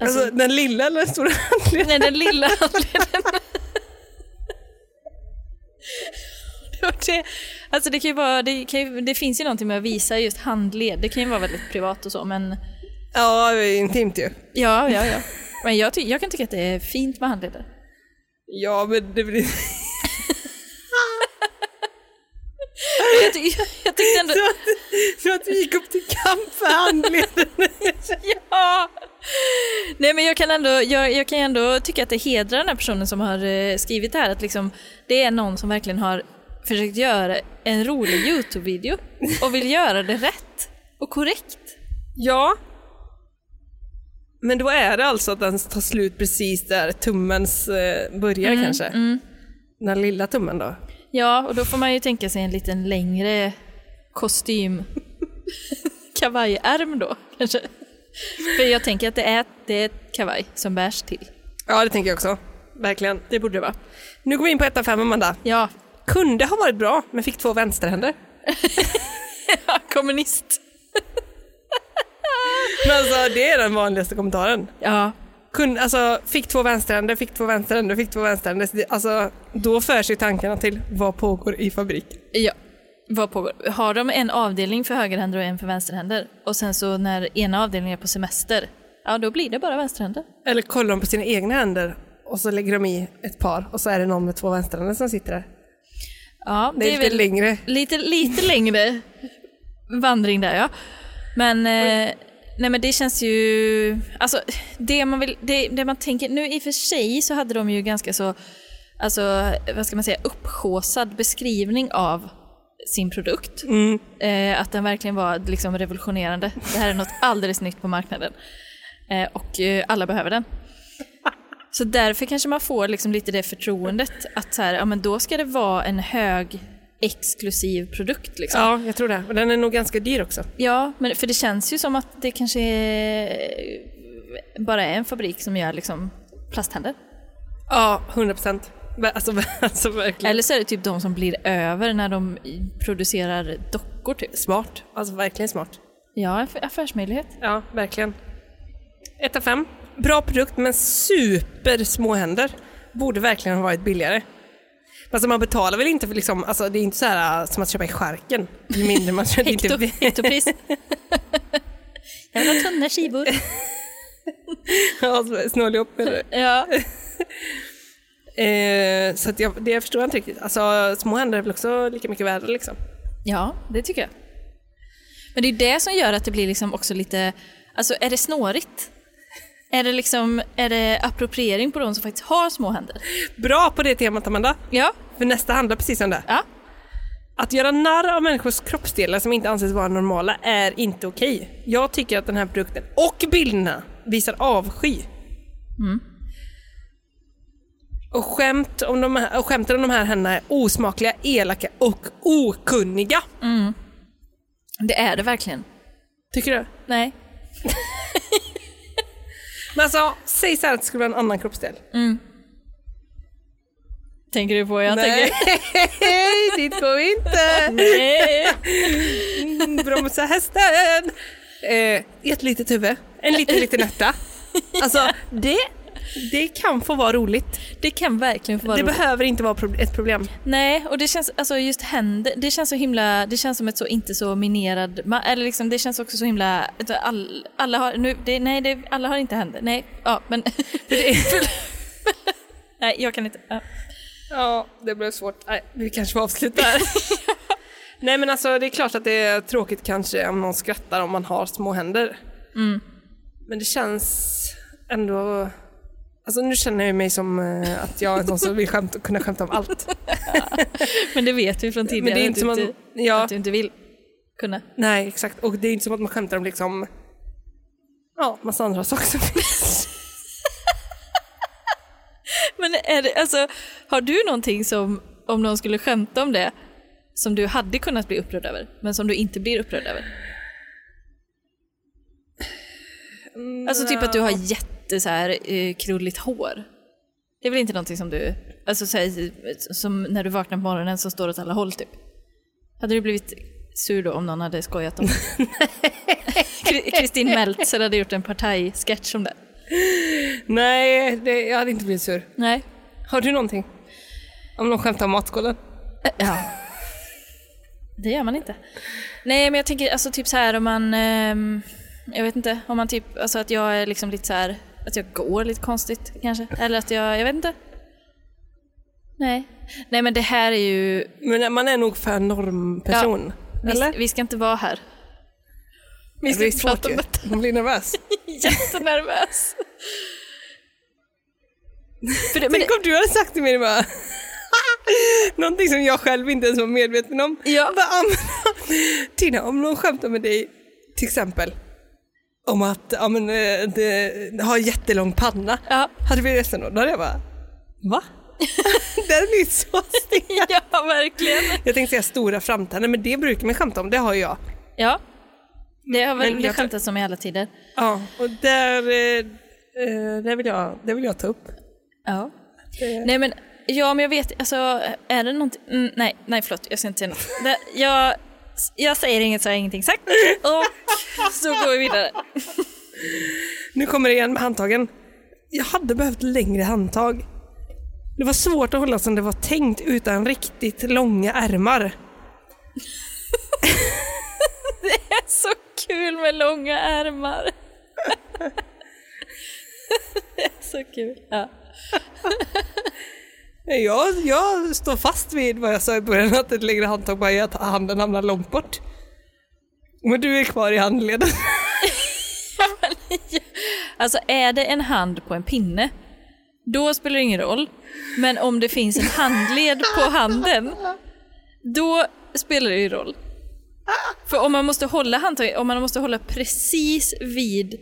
Alltså, alltså, den lilla eller den stora <laughs> handleden? nej den <laughs> lilla handleden. Och det, alltså det, kan ju vara, det, kan ju, det finns ju någonting med att visa just handled, det kan ju vara väldigt privat och så men <laughs> Ja, det är intimt ju. ja, ja, ja. <laughs> Men jag, ty- jag kan tycka att det är fint med handleder. Ja, men det blir... <laughs> Jag, ty- jag tyckte ändå... Så att, så att vi gick upp till kamp för handleden. <laughs> Ja! Nej men jag kan, ändå, jag, jag kan ändå tycka att det hedrar den här personen som har eh, skrivit det här att liksom, det är någon som verkligen har försökt göra en rolig Youtube-video och vill göra det rätt och korrekt. Ja. <laughs> Men då är det alltså att den tar slut precis där tummens eh, börjar kanske. Den lilla tummen då. Ja, och då får man ju tänka sig en liten längre kostym <laughs> kavajärm då kanske. För jag tänker att det är, det är ett kavaj som bärs till. Ja, det tänker jag också. Verkligen. Det borde det vara. Nu går vi in på 1 av 5, Amanda. Ja, Kunde ha varit bra, men fick två vänsterhänder. <laughs> kommunist. Men alltså, det är den vanligaste kommentaren. Ja, Kun, alltså, fick två vänsterhänder, fick två vänsterhänder, fick två vänsterhänder. Så det- Alltså, då förs ju tankarna till vad pågår i fabriken. Ja. Vad pågår? Har de en avdelning för högerhänder och en för vänsterhänder? Och sen så när ena avdelningen är på semester, ja då blir det bara vänsterhänder. Eller kollar de på sina egna händer och så lägger de i ett par och så är det någon med två vänsterhänder som sitter där. Ja, Det är, lite väl längre. Lite, lite längre vandring där ja. Men, eh, nej, men det känns ju... Alltså, det, man vill, det, det man tänker... Nu i och för sig så hade de ju ganska så... alltså, vad ska man säga, upphåsad beskrivning av sin produkt. Eh, att den verkligen var liksom revolutionerande. Det här är något alldeles nytt på marknaden. Eh, och eh, alla behöver den. Så därför kanske man får liksom lite det förtroendet att så här, ja, men då ska det vara en hög exklusiv produkt. Liksom. Ja, jag tror det. Och den är nog ganska dyr också. Ja, men för det känns ju som att det kanske är- bara är en fabrik som gör liksom plasthänder. Ja, 100 procent. Alltså, <laughs> alltså verkligen. Eller så är det typ de som blir över när de producerar dockor typ. Smart. Alltså verkligen smart. Ja, aff- affärsmöjlighet. Ja, verkligen. 1 av 5. Bra produkt men supersmå händer. Borde verkligen ha varit billigare. Alltså man betalar väl inte för liksom, alltså det är inte så här som att köpa i skärken. Ju mindre man köper. det är Hekto, inte- hektopris. Jag vill ha tunna <laughs> skivor. <laughs> Ja, så snål ihop med det. Ja. Eh, så att jag, det jag förstår jag inte riktigt. Alltså små händer är väl också lika mycket värda liksom. ja, det tycker jag. Men det är det som gör att det blir liksom också lite, alltså är det snårigt? Är det liksom, är det appropriering på de som faktiskt har små händer? Bra på det temat Amanda. Ja, För nästa handlar precis om det. ja. Att göra narr av människors kroppsdelar som inte anses vara normala är inte okej. Jag tycker att den här produkten och bilderna visar avsky. Mm. Och, skämt om de här, och skämten om de här händerna är osmakliga, elaka och okunniga. Det är det verkligen. Tycker du? Nej. Men alltså, säg så här att det skulle vara en annan kroppsdel. Tänker du på? Jag tänker... Nej, <laughs> dit går vi inte. Nej. bromsa hästen. Eh, ett litet huvud, en <laughs> liten liten ärta. Alltså det, det kan få vara roligt. <laughs> Det kan verkligen få vara det roligt. behöver inte vara prob- ett problem. Nej, och det känns, alltså just händer, det känns så himla, det känns som ett så inte så minerad, ma- eller liksom det känns också så himla, att all, alla har, nu, det, nej det, alla har inte händer, nej, ja men. <laughs> nej, jag kan inte. Ja. Ja, det blev svårt. Nej, vi kanske får avsluta <laughs> här. Nej men alltså det är klart att det är tråkigt kanske om någon skrattar om man har små händer. Mm. Men det känns ändå... Alltså nu känner jag mig som eh, att jag är en sån som vill skämta, kunna skämta om allt. Men det vet vi från tidigare Men det är inte som att, att... du, inte- Ja. att du inte vill kunna. Nej, exakt. Och det är inte som att man skämtar om liksom... Ja, massa andra saker som finns. Men är det, alltså, har du någonting som, om någon skulle skämta om det, som du hade kunnat bli upprörd över, men som du inte blir upprörd över? Alltså typ att du har jätte så här, eh, krulligt hår. Det är väl inte någonting som du, alltså så här, som när du vaknar på morgonen som står åt alla håll typ. Hade du blivit sur då om någon hade skojat om det? Kri- Kristin Meltzer hade gjort en partajsketch om det. <laughs> Nej, det, jag hade inte blivit sur. Nej. Har du någonting? Om någon skämtar om matskålen? Eh, Ja. Det gör man inte. Nej, men jag tänker alltså typ så här om man... ehm, jag vet inte, om man typ... Alltså att jag är liksom lite så här... Att jag går lite konstigt kanske. Eller att jag... Jag vet inte. Nej. Nej, men det här är ju... Men man är nog för normperson. Vi, Eller? vi ska inte vara här. Vi ska inte prata om detta. Hon blir nervös. Jättenervös. För det, men Tänk om du hade sagt till mig det bara... <laughs> någonting som jag själv inte ens var medveten om. Ja. Bara, ah, men- <laughs> Tina, om någon skämtar med dig, till exempel, om att ja, men, eh, det, ha jättelång panna. Ja. Hade vi blivit ledsen då? Då hade jag bara, va? <laughs> Den är ju så stel. det, <laughs> ja, verkligen. Jag tänkte säga stora framtänder, men det brukar man skämta om, det har jag. Ja. Det har Men väl det jag tror- skämtats om i alla tider. Ja, och där, eh, eh, där, vill, jag, där vill jag ta upp. Ja. Nej men, ja men jag vet, alltså är det någonting, mm, nej, nej förlåt, jag ska inte säga något. Det, jag, jag säger inget så har jag ingenting sagt. Och så går vi vidare. Nu kommer det igen med handtagen. Jag hade behövt längre handtag. Det var svårt att hålla som det var tänkt utan riktigt långa ärmar. Det är så kul med långa ärmar. <laughs> Det är så kul. Ja. Nej, Jag, jag står fast vid vad jag sa i början, att ett längre handtag bara är att handen hamnar långt bort. Men du är kvar i handleden. Alltså är det en hand på en pinne, Då spelar det ingen roll. Men om det finns en handled på handen, då spelar det ju roll. För om man måste hålla handtaget, om man måste hålla precis vid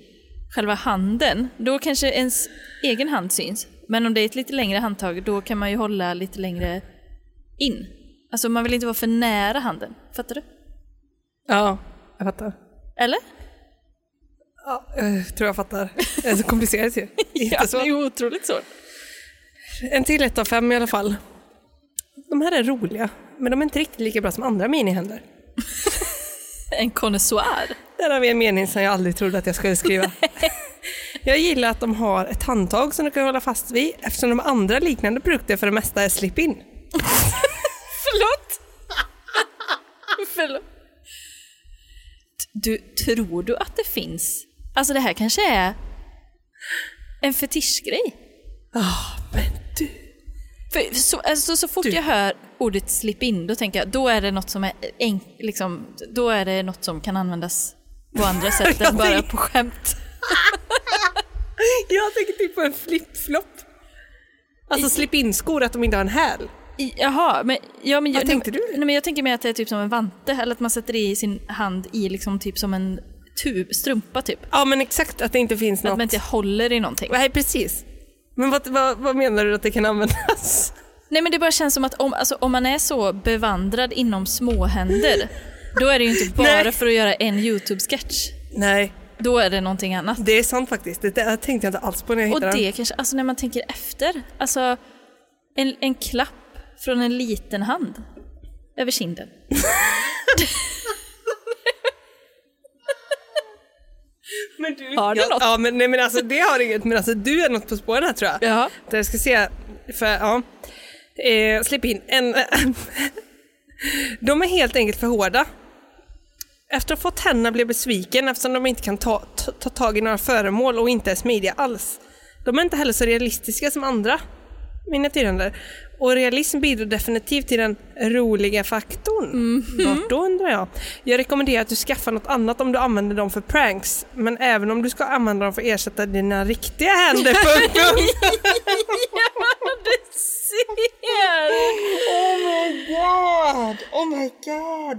själva handen, då kanske ens egen hand syns. Men om det är ett lite längre handtag, då kan man ju hålla lite längre in. Alltså man vill inte vara för nära handen. Fattar du? Ja, jag fattar. Eller? Ja, jag tror jag fattar. Det är så komplicerat <laughs> ju. det är otroligt svårt. En till ett av fem i alla fall. De här är roliga, men de är inte riktigt lika bra som andra minihänder. En konnässör. Där har vi en mening som jag aldrig trodde att jag skulle <laughs> skriva. jag gillar att de har ett handtag som du kan hålla fast vid eftersom de andra liknande produkter för det mesta är slip-in. Förlåt! Förlåt. Du, tror du att det finns? Alltså det här kanske är en fetischgrej? Ah, Men du, För så, alltså, så fort Du. jag hör ordet slip in, då tänker jag då är det något som är enk, liksom, då är det något som kan användas på <laughs> andra sätt Jag än bara tänk- på skämt. jag tänker typ på en flip-flop. Alltså slip-in-skor, att de inte har en häl. I- Jaha, men, ja, men, jag, Vad tänkte nej, du? Nej, men jag tänker mer att det är typ som en vante, eller att man sätter i sin hand i liksom typ som en tub, strumpa typ. Ja, men exakt att det inte finns något. Att man inte håller i någonting. Nej, precis. Men vad, vad, vad menar du att det kan användas? Nej men det bara känns som att om, alltså, om man är så bevandrad inom småhänder, då är det ju inte bara <laughs> Nej. för att göra en YouTube-sketch. Nej, Då är det någonting annat. det är sant faktiskt. Det där tänkte jag inte alls på när jag Och hittade den. det kanske, alltså när man tänker efter, alltså en, en klapp från en liten hand över <laughs> kinden. Men du, Har du jag, något? Ja, men, nej, men alltså, det har inget. Men alltså, du är något på spåren här tror jag. Ja. Där jag ska se, för ja. Eh, släpp in en... de är helt enkelt för hårda. Efter att ha fått tänderna blir jag besviken eftersom de inte kan ta, ta, ta tag i några föremål och inte är smidiga alls. De är inte heller så realistiska som andra miniatyrhänder. Och realism bidrar definitivt till den roliga faktorn. Mm. Vart då undrar jag? Jag rekommenderar att du skaffar något annat om du använder dem för pranks. Men även om du ska använda dem för att ersätta dina riktiga <laughs> händer. punkt, punkt. Ja, du ser! god! Oh my god!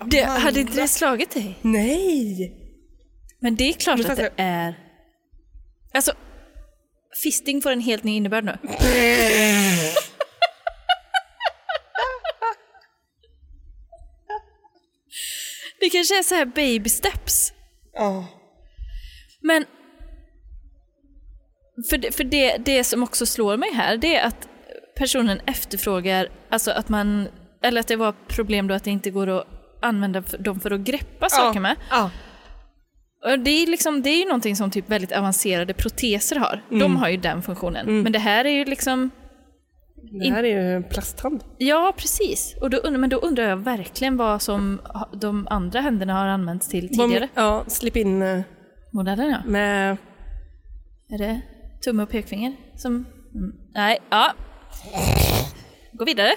Gud, Det, Amanda. hade inte det slagit dig? Nej! Men det är klart Men att det fast är... Alltså, fisting får en helt ny innebörd nu. det kanske är så här baby steps. Ja. Men... För, det, för det, det som också slår mig här, det är att personen efterfrågar, alltså att man... Eller att det var problem då att det inte går att använda för- dem för att greppa saker med. Ja. Och Det är, liksom, det är ju någonting som typ väldigt avancerade proteser har. Mm. De har ju den funktionen. Men det här är ju liksom... Det här är ju en plasthand. Ja, precis. Och då, und- men då undrar jag verkligen vad som ha- de andra händerna har använts till tidigare. Ja, slip in eh, Modellen, ja. med... Är det tumme och pekfinger som... Mm. Nej, ja. Gå vidare.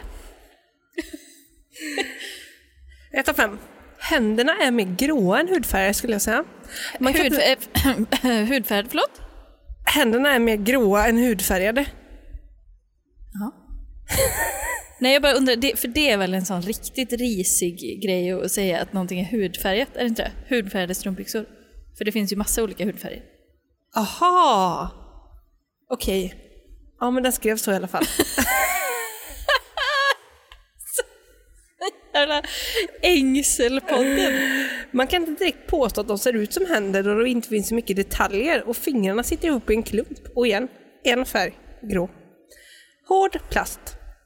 Ett av fem. Händerna är mer gråa än hudfärgade skulle jag säga. Man kan- Hudfär- eh, <laughs> hudfärg, förlåt? Händerna är mer gråa än hudfärgade. Ja. Nej, jag bara undrar, det, för det är väl en sån riktigt risig grej att säga att någonting är hudfärgat, är det inte det? Hudfärgade strumpbyxor. För det finns ju massa olika hudfärger. Aha! Okej. Ja, men den skrev så i alla fall. Jävla Ängselpodden! <laughs> Man kan inte direkt påstå att de ser ut som händer då det inte finns så mycket detaljer och fingrarna sitter ihop i en klump. Och igen, en färg, grå. Hård plast.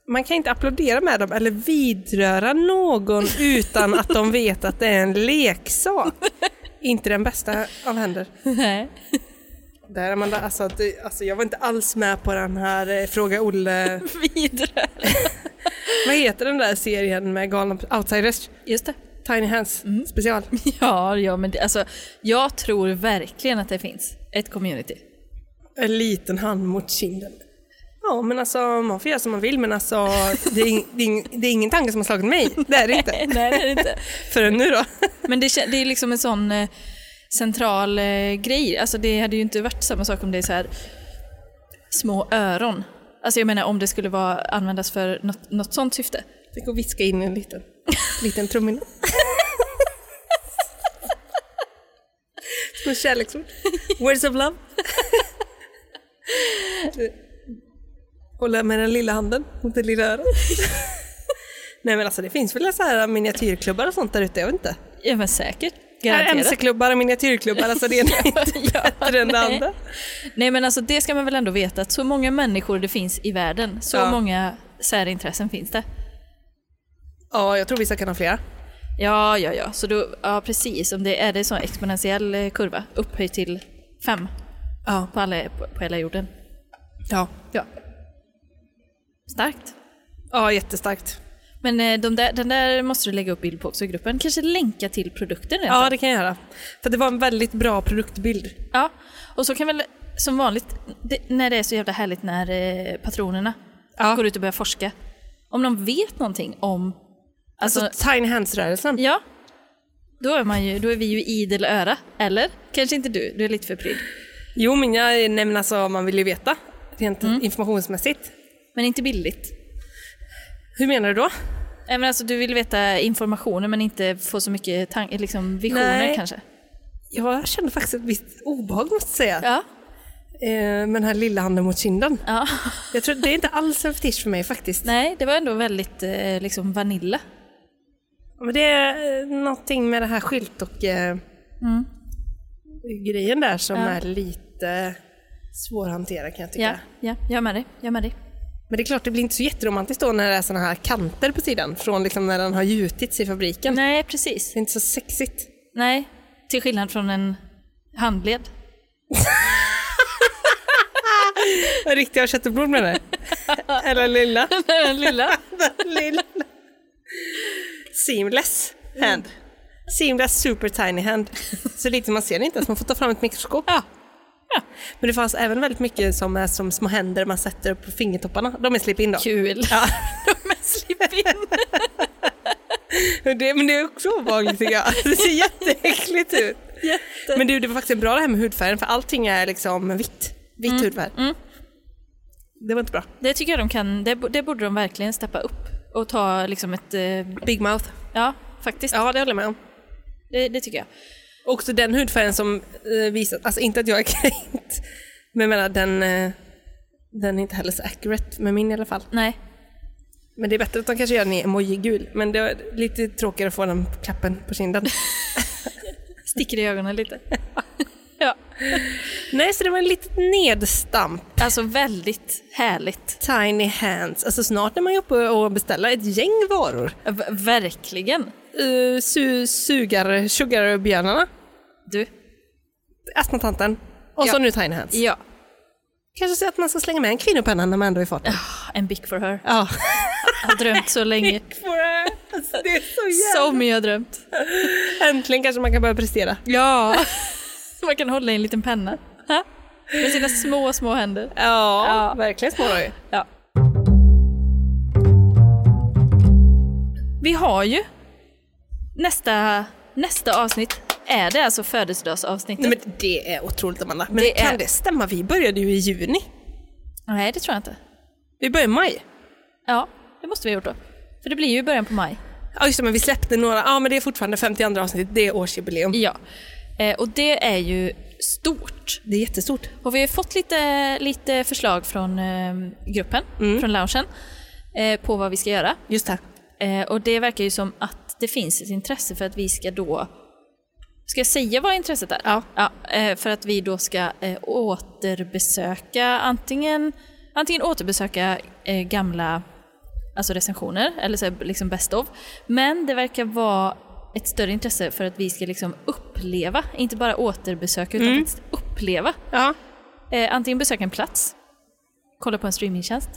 Man kan inte applådera med dem eller vidröra <laughs> någon utan att de vet att det är en leksak. Inte den bästa av händer. <laughs> Nej. Där är man där, alltså, att det, alltså, jag var inte alls med på den här eh, Fråga Olle. Vidare. Vad heter den där serien med galna outsiders? Just det. Tiny Hands special. Ja, ja men det, alltså, jag tror verkligen att det finns ett community. En liten hand mot kinden. Ja, men alltså man får göra som man vill, men alltså det är, ing- det är, ing- det är ingen tanke som har slagit mig. Det är det inte. Nej, det är det inte. Förrän nu då. Men det, kän- det är liksom en sån eh, central eh, grej. Alltså det hade ju inte varit samma sak om det är så här små öron. Alltså jag menar om det skulle vara, användas för något, något sånt syfte. Tänk att viska in en liten, liten trumhinna. Som ett kärleksord. Words of love. Hålla med den lilla handen mot det lilla örat. Nej men alltså det finns väl så här miniatyrklubbar och sånt där ute, jag vet inte. Ja men säkert. Garanterat. MC-klubbar och miniatyrklubbar, alltså det är <laughs> inte Ja, bättre än det nej. andra. Nej men alltså det ska man väl ändå veta att så många människor det finns i världen, så Ja. många särintressen finns det. Ja, jag tror vissa kan ha flera. Ja, ja, ja. Så då, ja precis. Om det är det är sån exponentiell eh, kurva, upphöjd till fem Ja. på, alla, på, på hela jorden. Ja. Ja, Starkt. ja jättestarkt. Men eh, de där, den där måste du lägga upp bild på också i gruppen. Kanske länka till produkten rent Ja, det kan jag göra. För det var en väldigt bra produktbild. Ja, och så kan väl som vanligt, det, när det är så jävla härligt när eh, patronerna Ja. går ut och börjar forska. Om de vet någonting om... Alltså, Alltså tiny hands-rörelsen. ja. Då är, man ju, då är vi ju idel öra, eller? Kanske inte du, du är lite för pryd. Jo, men jag nämner alltså man vill ju veta rent informationsmässigt. Men inte billigt. Hur menar du då? Nej, men alltså, du vill veta informationen men inte få så mycket tan- liksom visioner Nej. kanske. Jag kände faktiskt ett visst obehag måste jag säga. Ja. Eh, med den här lilla handen mot kinden. ja. <laughs> Jag tror det är inte alls en fetisch för mig faktiskt. Nej, det var ändå väldigt eh, liksom vanilla. Men det är eh, någonting med det här skylt och eh, Mm. grejen där som Ja. är lite svårhanterad kan jag tycka. Ja, ja, jag är med dig. Jag är med dig. Men det är klart, det blir inte så jätteromantiskt då när det är sådana här kanter på sidan från liksom när den har gjutits i fabriken. Nej, precis. Det är inte så sexigt. Nej, till skillnad från en handled. <laughs> Riktiga köttbullar med <laughs> det. Eller lilla. Den lilla. <laughs> lilla. Seamless hand. Seamless super tiny hand. Så lite man ser det inte ens, man får ta fram ett mikroskop. Ja. Men det fanns även väldigt mycket som är som små händer man sätter upp på fingertopparna. De är slip-in då. Kul. <laughs> Ja. Men slipp in. Det, men det är också obehagligt tycker jag. Det ser jätteäckligt ut. Men du, det var faktiskt en bra det här med hudfärgen för allting är liksom vitt. Vitt hudfärg. Det var inte bra. Det tycker jag de kan, det, bo- det borde de verkligen steppa upp och ta liksom ett, eh, Big mouth. ja faktiskt, Ja, det håller jag med om. det, det tycker jag. Också den hudfärgen som eh, visar, alltså inte att jag är <laughs> kränkt, men jag menar den, eh, den är inte heller så accurate med min i alla fall. Nej, Men det är bättre att de kanske gör den i emoji-gul, men det är lite tråkigare att få den klappen på <laughs> kinden. sticker i ögonen <laughs> lite. ja. Nej, så det var en litet nedstamp. Alltså väldigt härligt. Tiny hands. Alltså snart är man ju uppe och beställer ett gäng varor. V- verkligen. Uh, su- sugar, sugarbjörnarna, Du. astmatanten och så Ja. nu Tiny hands. Ja. Kanske så att man ska slänga med en kvinnopenna när man ändå är i farten. En bick for her. Ja. <laughs> Jag har drömt så <laughs> länge. alltså, det är <laughs> så jävla... Som jag har drömt. Äntligen kanske man kan börja prestera. Ja. <laughs> Man kan hålla i en liten penna. Ha? Med sina små, små händer. Ja, verkligen små ju. Ja. Vi har ju nästa, nästa avsnitt. Är det alltså födelsedagsavsnittet? Nej Nej, men det är otroligt Amanda. Men Det kan är- det stämma? Vi började ju i juni. det tror jag inte. Vi började i maj. Ja, det måste vi ha gjort då. För det blir ju i början på maj. Ja just det, men vi släppte några. Ja men det är fortfarande 52 avsnitt. Det är årsjubileum. Ja. Eh, och det är ju stort. Det är jättestort. Och vi har fått lite, lite förslag från eh, gruppen, från loungen, eh, på vad vi ska göra. Just det. Eh, och det verkar ju som att det finns ett intresse för att vi ska då... Ska jag säga vad intresset är? Ja. eh, för att vi då ska eh, återbesöka antingen, antingen återbesöka eh, gamla alltså recensioner, eller så här, liksom best of. Men det verkar vara ett större intresse för att vi ska liksom uppleva, inte bara återbesöka utan faktiskt uppleva. Ja. Eh, antingen besöka en plats, kolla på en streamingtjänst,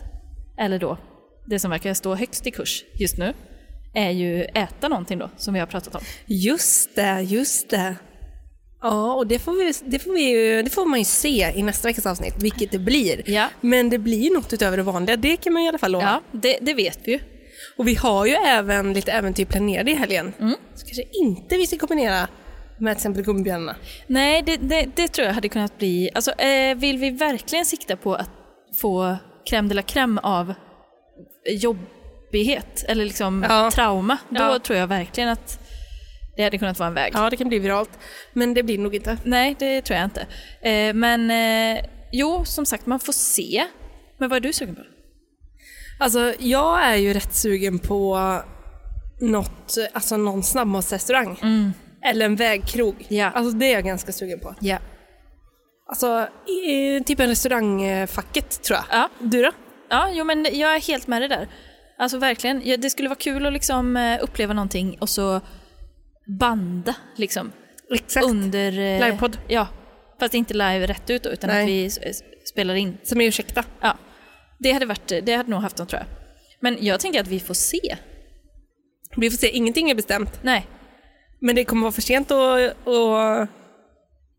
eller då, det som verkar stå högst i kurs just nu, är ju äta någonting då, som vi har pratat om. Just det, just det. Ja, och det får, vi, det, får vi ju, det får man ju se i nästa veckas avsnitt, vilket det blir. Ja. Men det blir ju något utöver det vanliga, det kan man i alla fall lova. Ja, det, det vet vi ju. Och vi har ju även lite äventyr planerade i helgen. Så kanske inte vi ska kombinera med till exempel gummibjörnarna. Nej, det, det, det tror jag hade kunnat bli... Alltså, eh, vill vi verkligen sikta på att få crème de la crème av jobbighet eller liksom Ja. trauma, då Ja. tror jag verkligen att det hade kunnat vara en väg. Ja, det kan bli viralt. Men det blir nog inte. Nej, det tror jag inte. Eh, men eh, jo, som sagt, man får se. Men vad är du sugen på? Alltså, jag är ju rätt sugen på något, alltså någon snabbmatsrestaurang. Eller en vägkrog. Ja. Alltså det är jag ganska sugen på. Ja. Alltså, i- typ en restaurangfacket tror jag. Ja. Du då? Ja, jo, men jag är helt med dig där. Alltså verkligen. Ja, det skulle vara kul att liksom eh, uppleva någonting och så banda liksom. Exakt. Under... eh, Livepodd. Ja. Fast inte live rätt ut då, utan Nej. att vi s- s- spelar in. Som är ursäkta. Ja. Det hade, varit, det hade nog haft något tror jag. Men jag tänker att vi får se. Vi får se, ingenting är bestämt. Nej. Men det kommer vara för sent att... Och...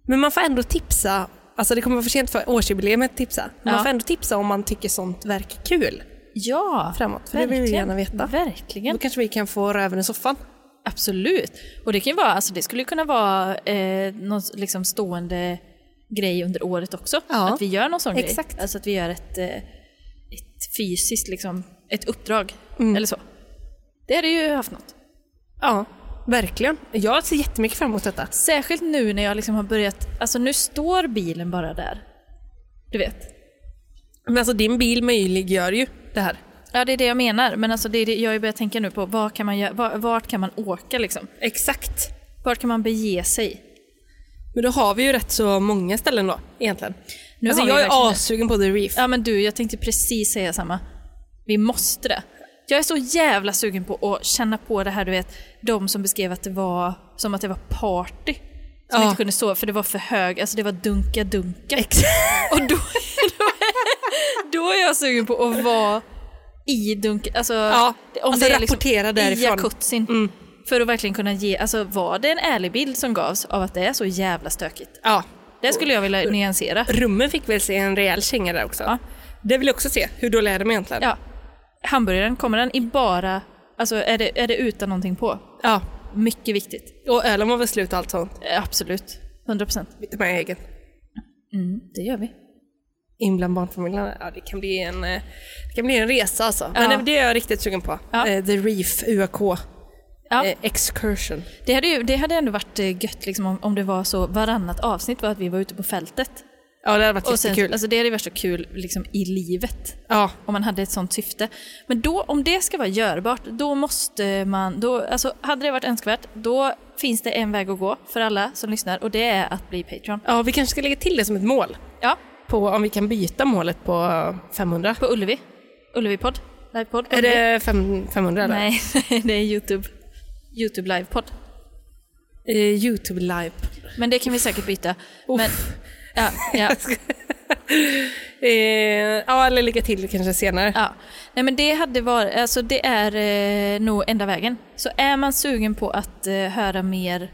Men man får ändå tipsa. Alltså det kommer vara för sent för årsjubileet att tipsa. Ja. Men Man får ändå tipsa om man tycker sånt verkar kul. Ja. Framåt, för det vill vi verkligen. gärna veta. Då Verkligen. kanske vi kan få röven i soffan. Absolut. Och det kan ju vara, alltså det skulle ju kunna vara eh, någon s- liksom stående grej under året också. Ja. Att vi gör någon sån Exakt. grej. Alltså att vi gör ett, eh, ett fysiskt liksom, ett uppdrag Mm. eller så. Det hade ju haft något. Ja, verkligen. Jag ser jättemycket fram emot detta. Särskilt nu när jag liksom har börjat, alltså nu står bilen bara där. Du vet. Men alltså din bil möjliggör ju det här. Ja det är det jag menar, men alltså det är det jag har ju börjat tänka nu på, vad kan man göra, va- vart kan man åka liksom? Exakt. Vart kan man bege sig? Men då har vi ju rätt så många ställen då, egentligen. Nu alltså har vi jag verkligen är det. assugen på The Reef. Ja men du, jag tänkte precis säga samma. Vi måste det. Jag är så jävla sugen på att känna på det här, du vet, de som beskrev att det var som att det var party. Som Ja. inte kunde sova för det var för hög, alltså det var dunka-dunka. Och då, <laughs> då, då är jag sugen på att vara i dunka, alltså, Ja, alltså rapportera liksom i därifrån. Mm. jacuzzin. För att verkligen kunna ge, alltså var det en ärlig bild som gavs av att det är så jävla stökigt? Ja. Det skulle jag vilja nyansera. Rummen fick väl se en rejäl känga där också. Ja. Det vill jag också se, hur dåliga är de egentligen? Ja. Hamburgaren, kommer den i bara... Alltså är det, är det utan någonting på? Ja. Mycket viktigt. Och ölen var väl slut och allt sånt. Eh, Absolut. 100 procent. Vi tar med egen. Det gör vi. In bland barnfamiljerna. Ja, det kan bli en, eh, det kan bli en resa alltså. Ja. Men det- det är jag riktigt sugen på. Ja. Eh, The Reef, UAK, Ja, eh, Excursion. det, hade ju, det hade ändå varit eh, gött liksom, om, om det var så varannat avsnitt var att vi var ute på fältet. Ja, det hade varit Och sen, jättekul. alltså, det hade ju varit så kul liksom, i livet. Ja, Om man hade ett sånt syfte. Men då, om det ska vara görbart, då måste man... Då, alltså, hade det varit önskvärt, då finns det en väg att gå för alla som lyssnar och det är att bli Patreon. Ja, vi kanske ska lägga till det som ett mål. Ja, På om vi kan byta målet på 500. på Ullevi. Ullevi-podd. Livepodd. Är det fem- 500 eller? Nej, <laughs> det är Youtube. Youtube livepodd. Eh, Youtube live. Men det kan vi säkert byta. Uff. Men, ja, <laughs> ja, Eh, ja, eller lägga till det kanske senare. ja. Nej men det hade varit, alltså det är eh, nog enda vägen. Så är man sugen på att eh, höra mer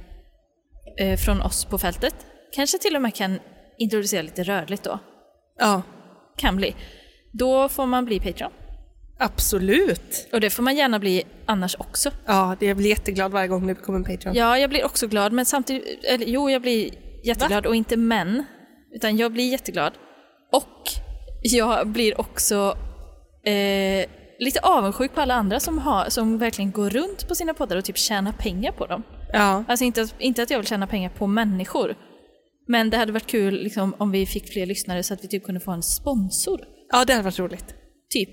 eh, från oss på fältet, kanske till och med kan introducera lite rörligt då. Ja, Kan bli. Då får man bli Patreon. absolut. Och det får man gärna bli annars också. Ja, det- jag blir jätteglad varje gång det kommer en Patreon. Ja, jag blir också glad, men samtidigt... Eller, jo, jag blir jätteglad och inte men. Utan jag blir jätteglad. Och jag blir också eh, lite avundsjuk på alla andra som, har, som verkligen går runt på sina poddar och typ tjänar pengar på dem. Ja. Alltså inte, att- inte att jag vill tjäna pengar på människor. Men det hade varit kul liksom, om vi fick fler lyssnare så att vi typ kunde få en sponsor. ja, det hade varit roligt. Typ.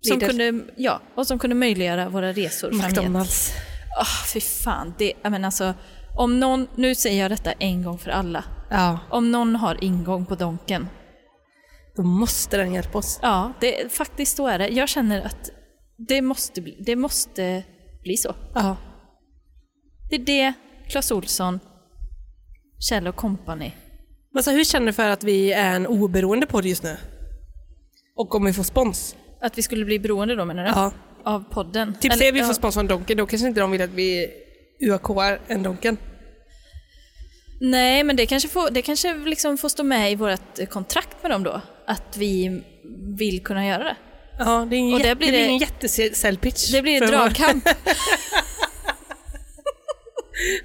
Som Leader. kunde, ja, och som kunde möjliggöra våra resor framgent. McDonalds. Ah, fy fan. Det, jag menar alltså, om någon, nu säger jag detta en gång för alla. Ja, Om någon har ingång på Donken, då måste den hjälpa oss. ja, det, faktiskt så är det. Jag känner att det måste bli, det måste bli så. Ja. Det är det Clas Olsson, Kjell och Company. Men så hur känner du för att vi är en oberoende podd just nu? Och om vi får spons? Att vi skulle bli beroende då menar du? Ja. Av podden? Typ Eller- säg vi ja. får spons från Donken, då kanske inte de vill att vi UAKar en Donken. Nej, men det kanske får, det kanske liksom får stå med i vårt eh, kontrakt med dem då. Att vi vill kunna göra det. Ja, det, är Och en jätte, där det, blir blir det- en jättesäljpitch. Det blir en för vår- <laughs> dragkamp. <laughs>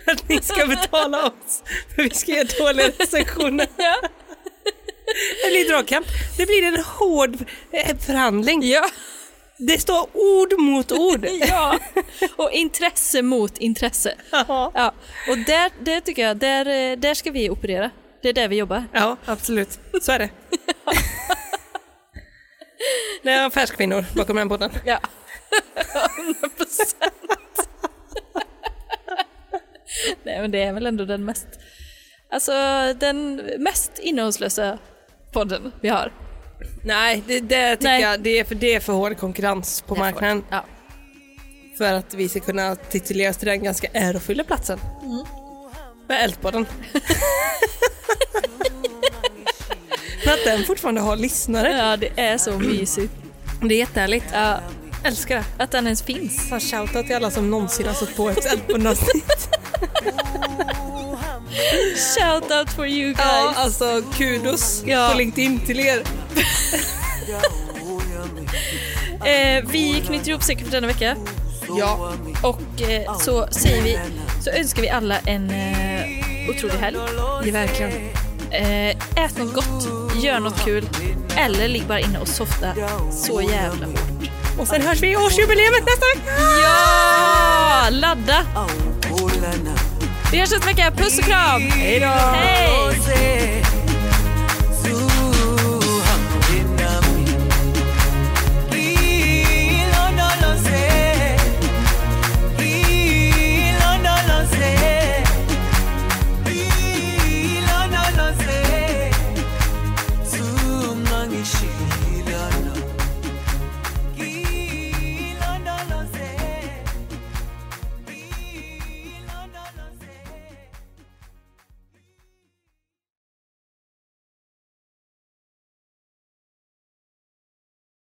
Att ni ska betala oss för vi ska göra dåliga recensioner. Ja. Det blir dragkamp. Det blir en hård eh, förhandling. Ja. Det står ord mot ord. ja. Och intresse mot intresse. Ja. <laughs> Ja. Och där, där tycker jag, där, eh, där ska vi operera. Det är där vi jobbar. Ja, absolut. <laughs> Så är det. Det är affärskvinnor bakom den podden. Ja. 100%. <laughs> Nej men det är väl ändå den mest, alltså den mest innehållslösa podden vi har. Nej, det, det tycker Nej. jag det är, för, det är för hård konkurrens på marknaden Ja. för att vi ska kunna tituleras till den ganska ärofyllda platsen. Mm. Med Eldpodden. <laughs> för att den fortfarande har lyssnare. ja, det är så mysigt. Det är jättehärligt. Ja, Älskar det. att den ens finns. Så shoutout till alla som någonsin har satt på ett <laughs> Eldpodden-avsnitt. Shout out for you guys. ja, alltså kudos Ja. på LinkedIn till er. Eh, vi knyter ihop säkert för denna vecka Ja. och eh, så säger vi, så önskar vi alla en eh, otrolig helg. Det är verkligen. Eh, ät något gott, gör något kul eller ligg bara inne och softa så jävla hårt. Och sen hörs vi i årsjubileet nästa vecka! Ja! Ladda! Vi hörs nästa vecka. Puss och kram! Hej då! Hej! Rosé.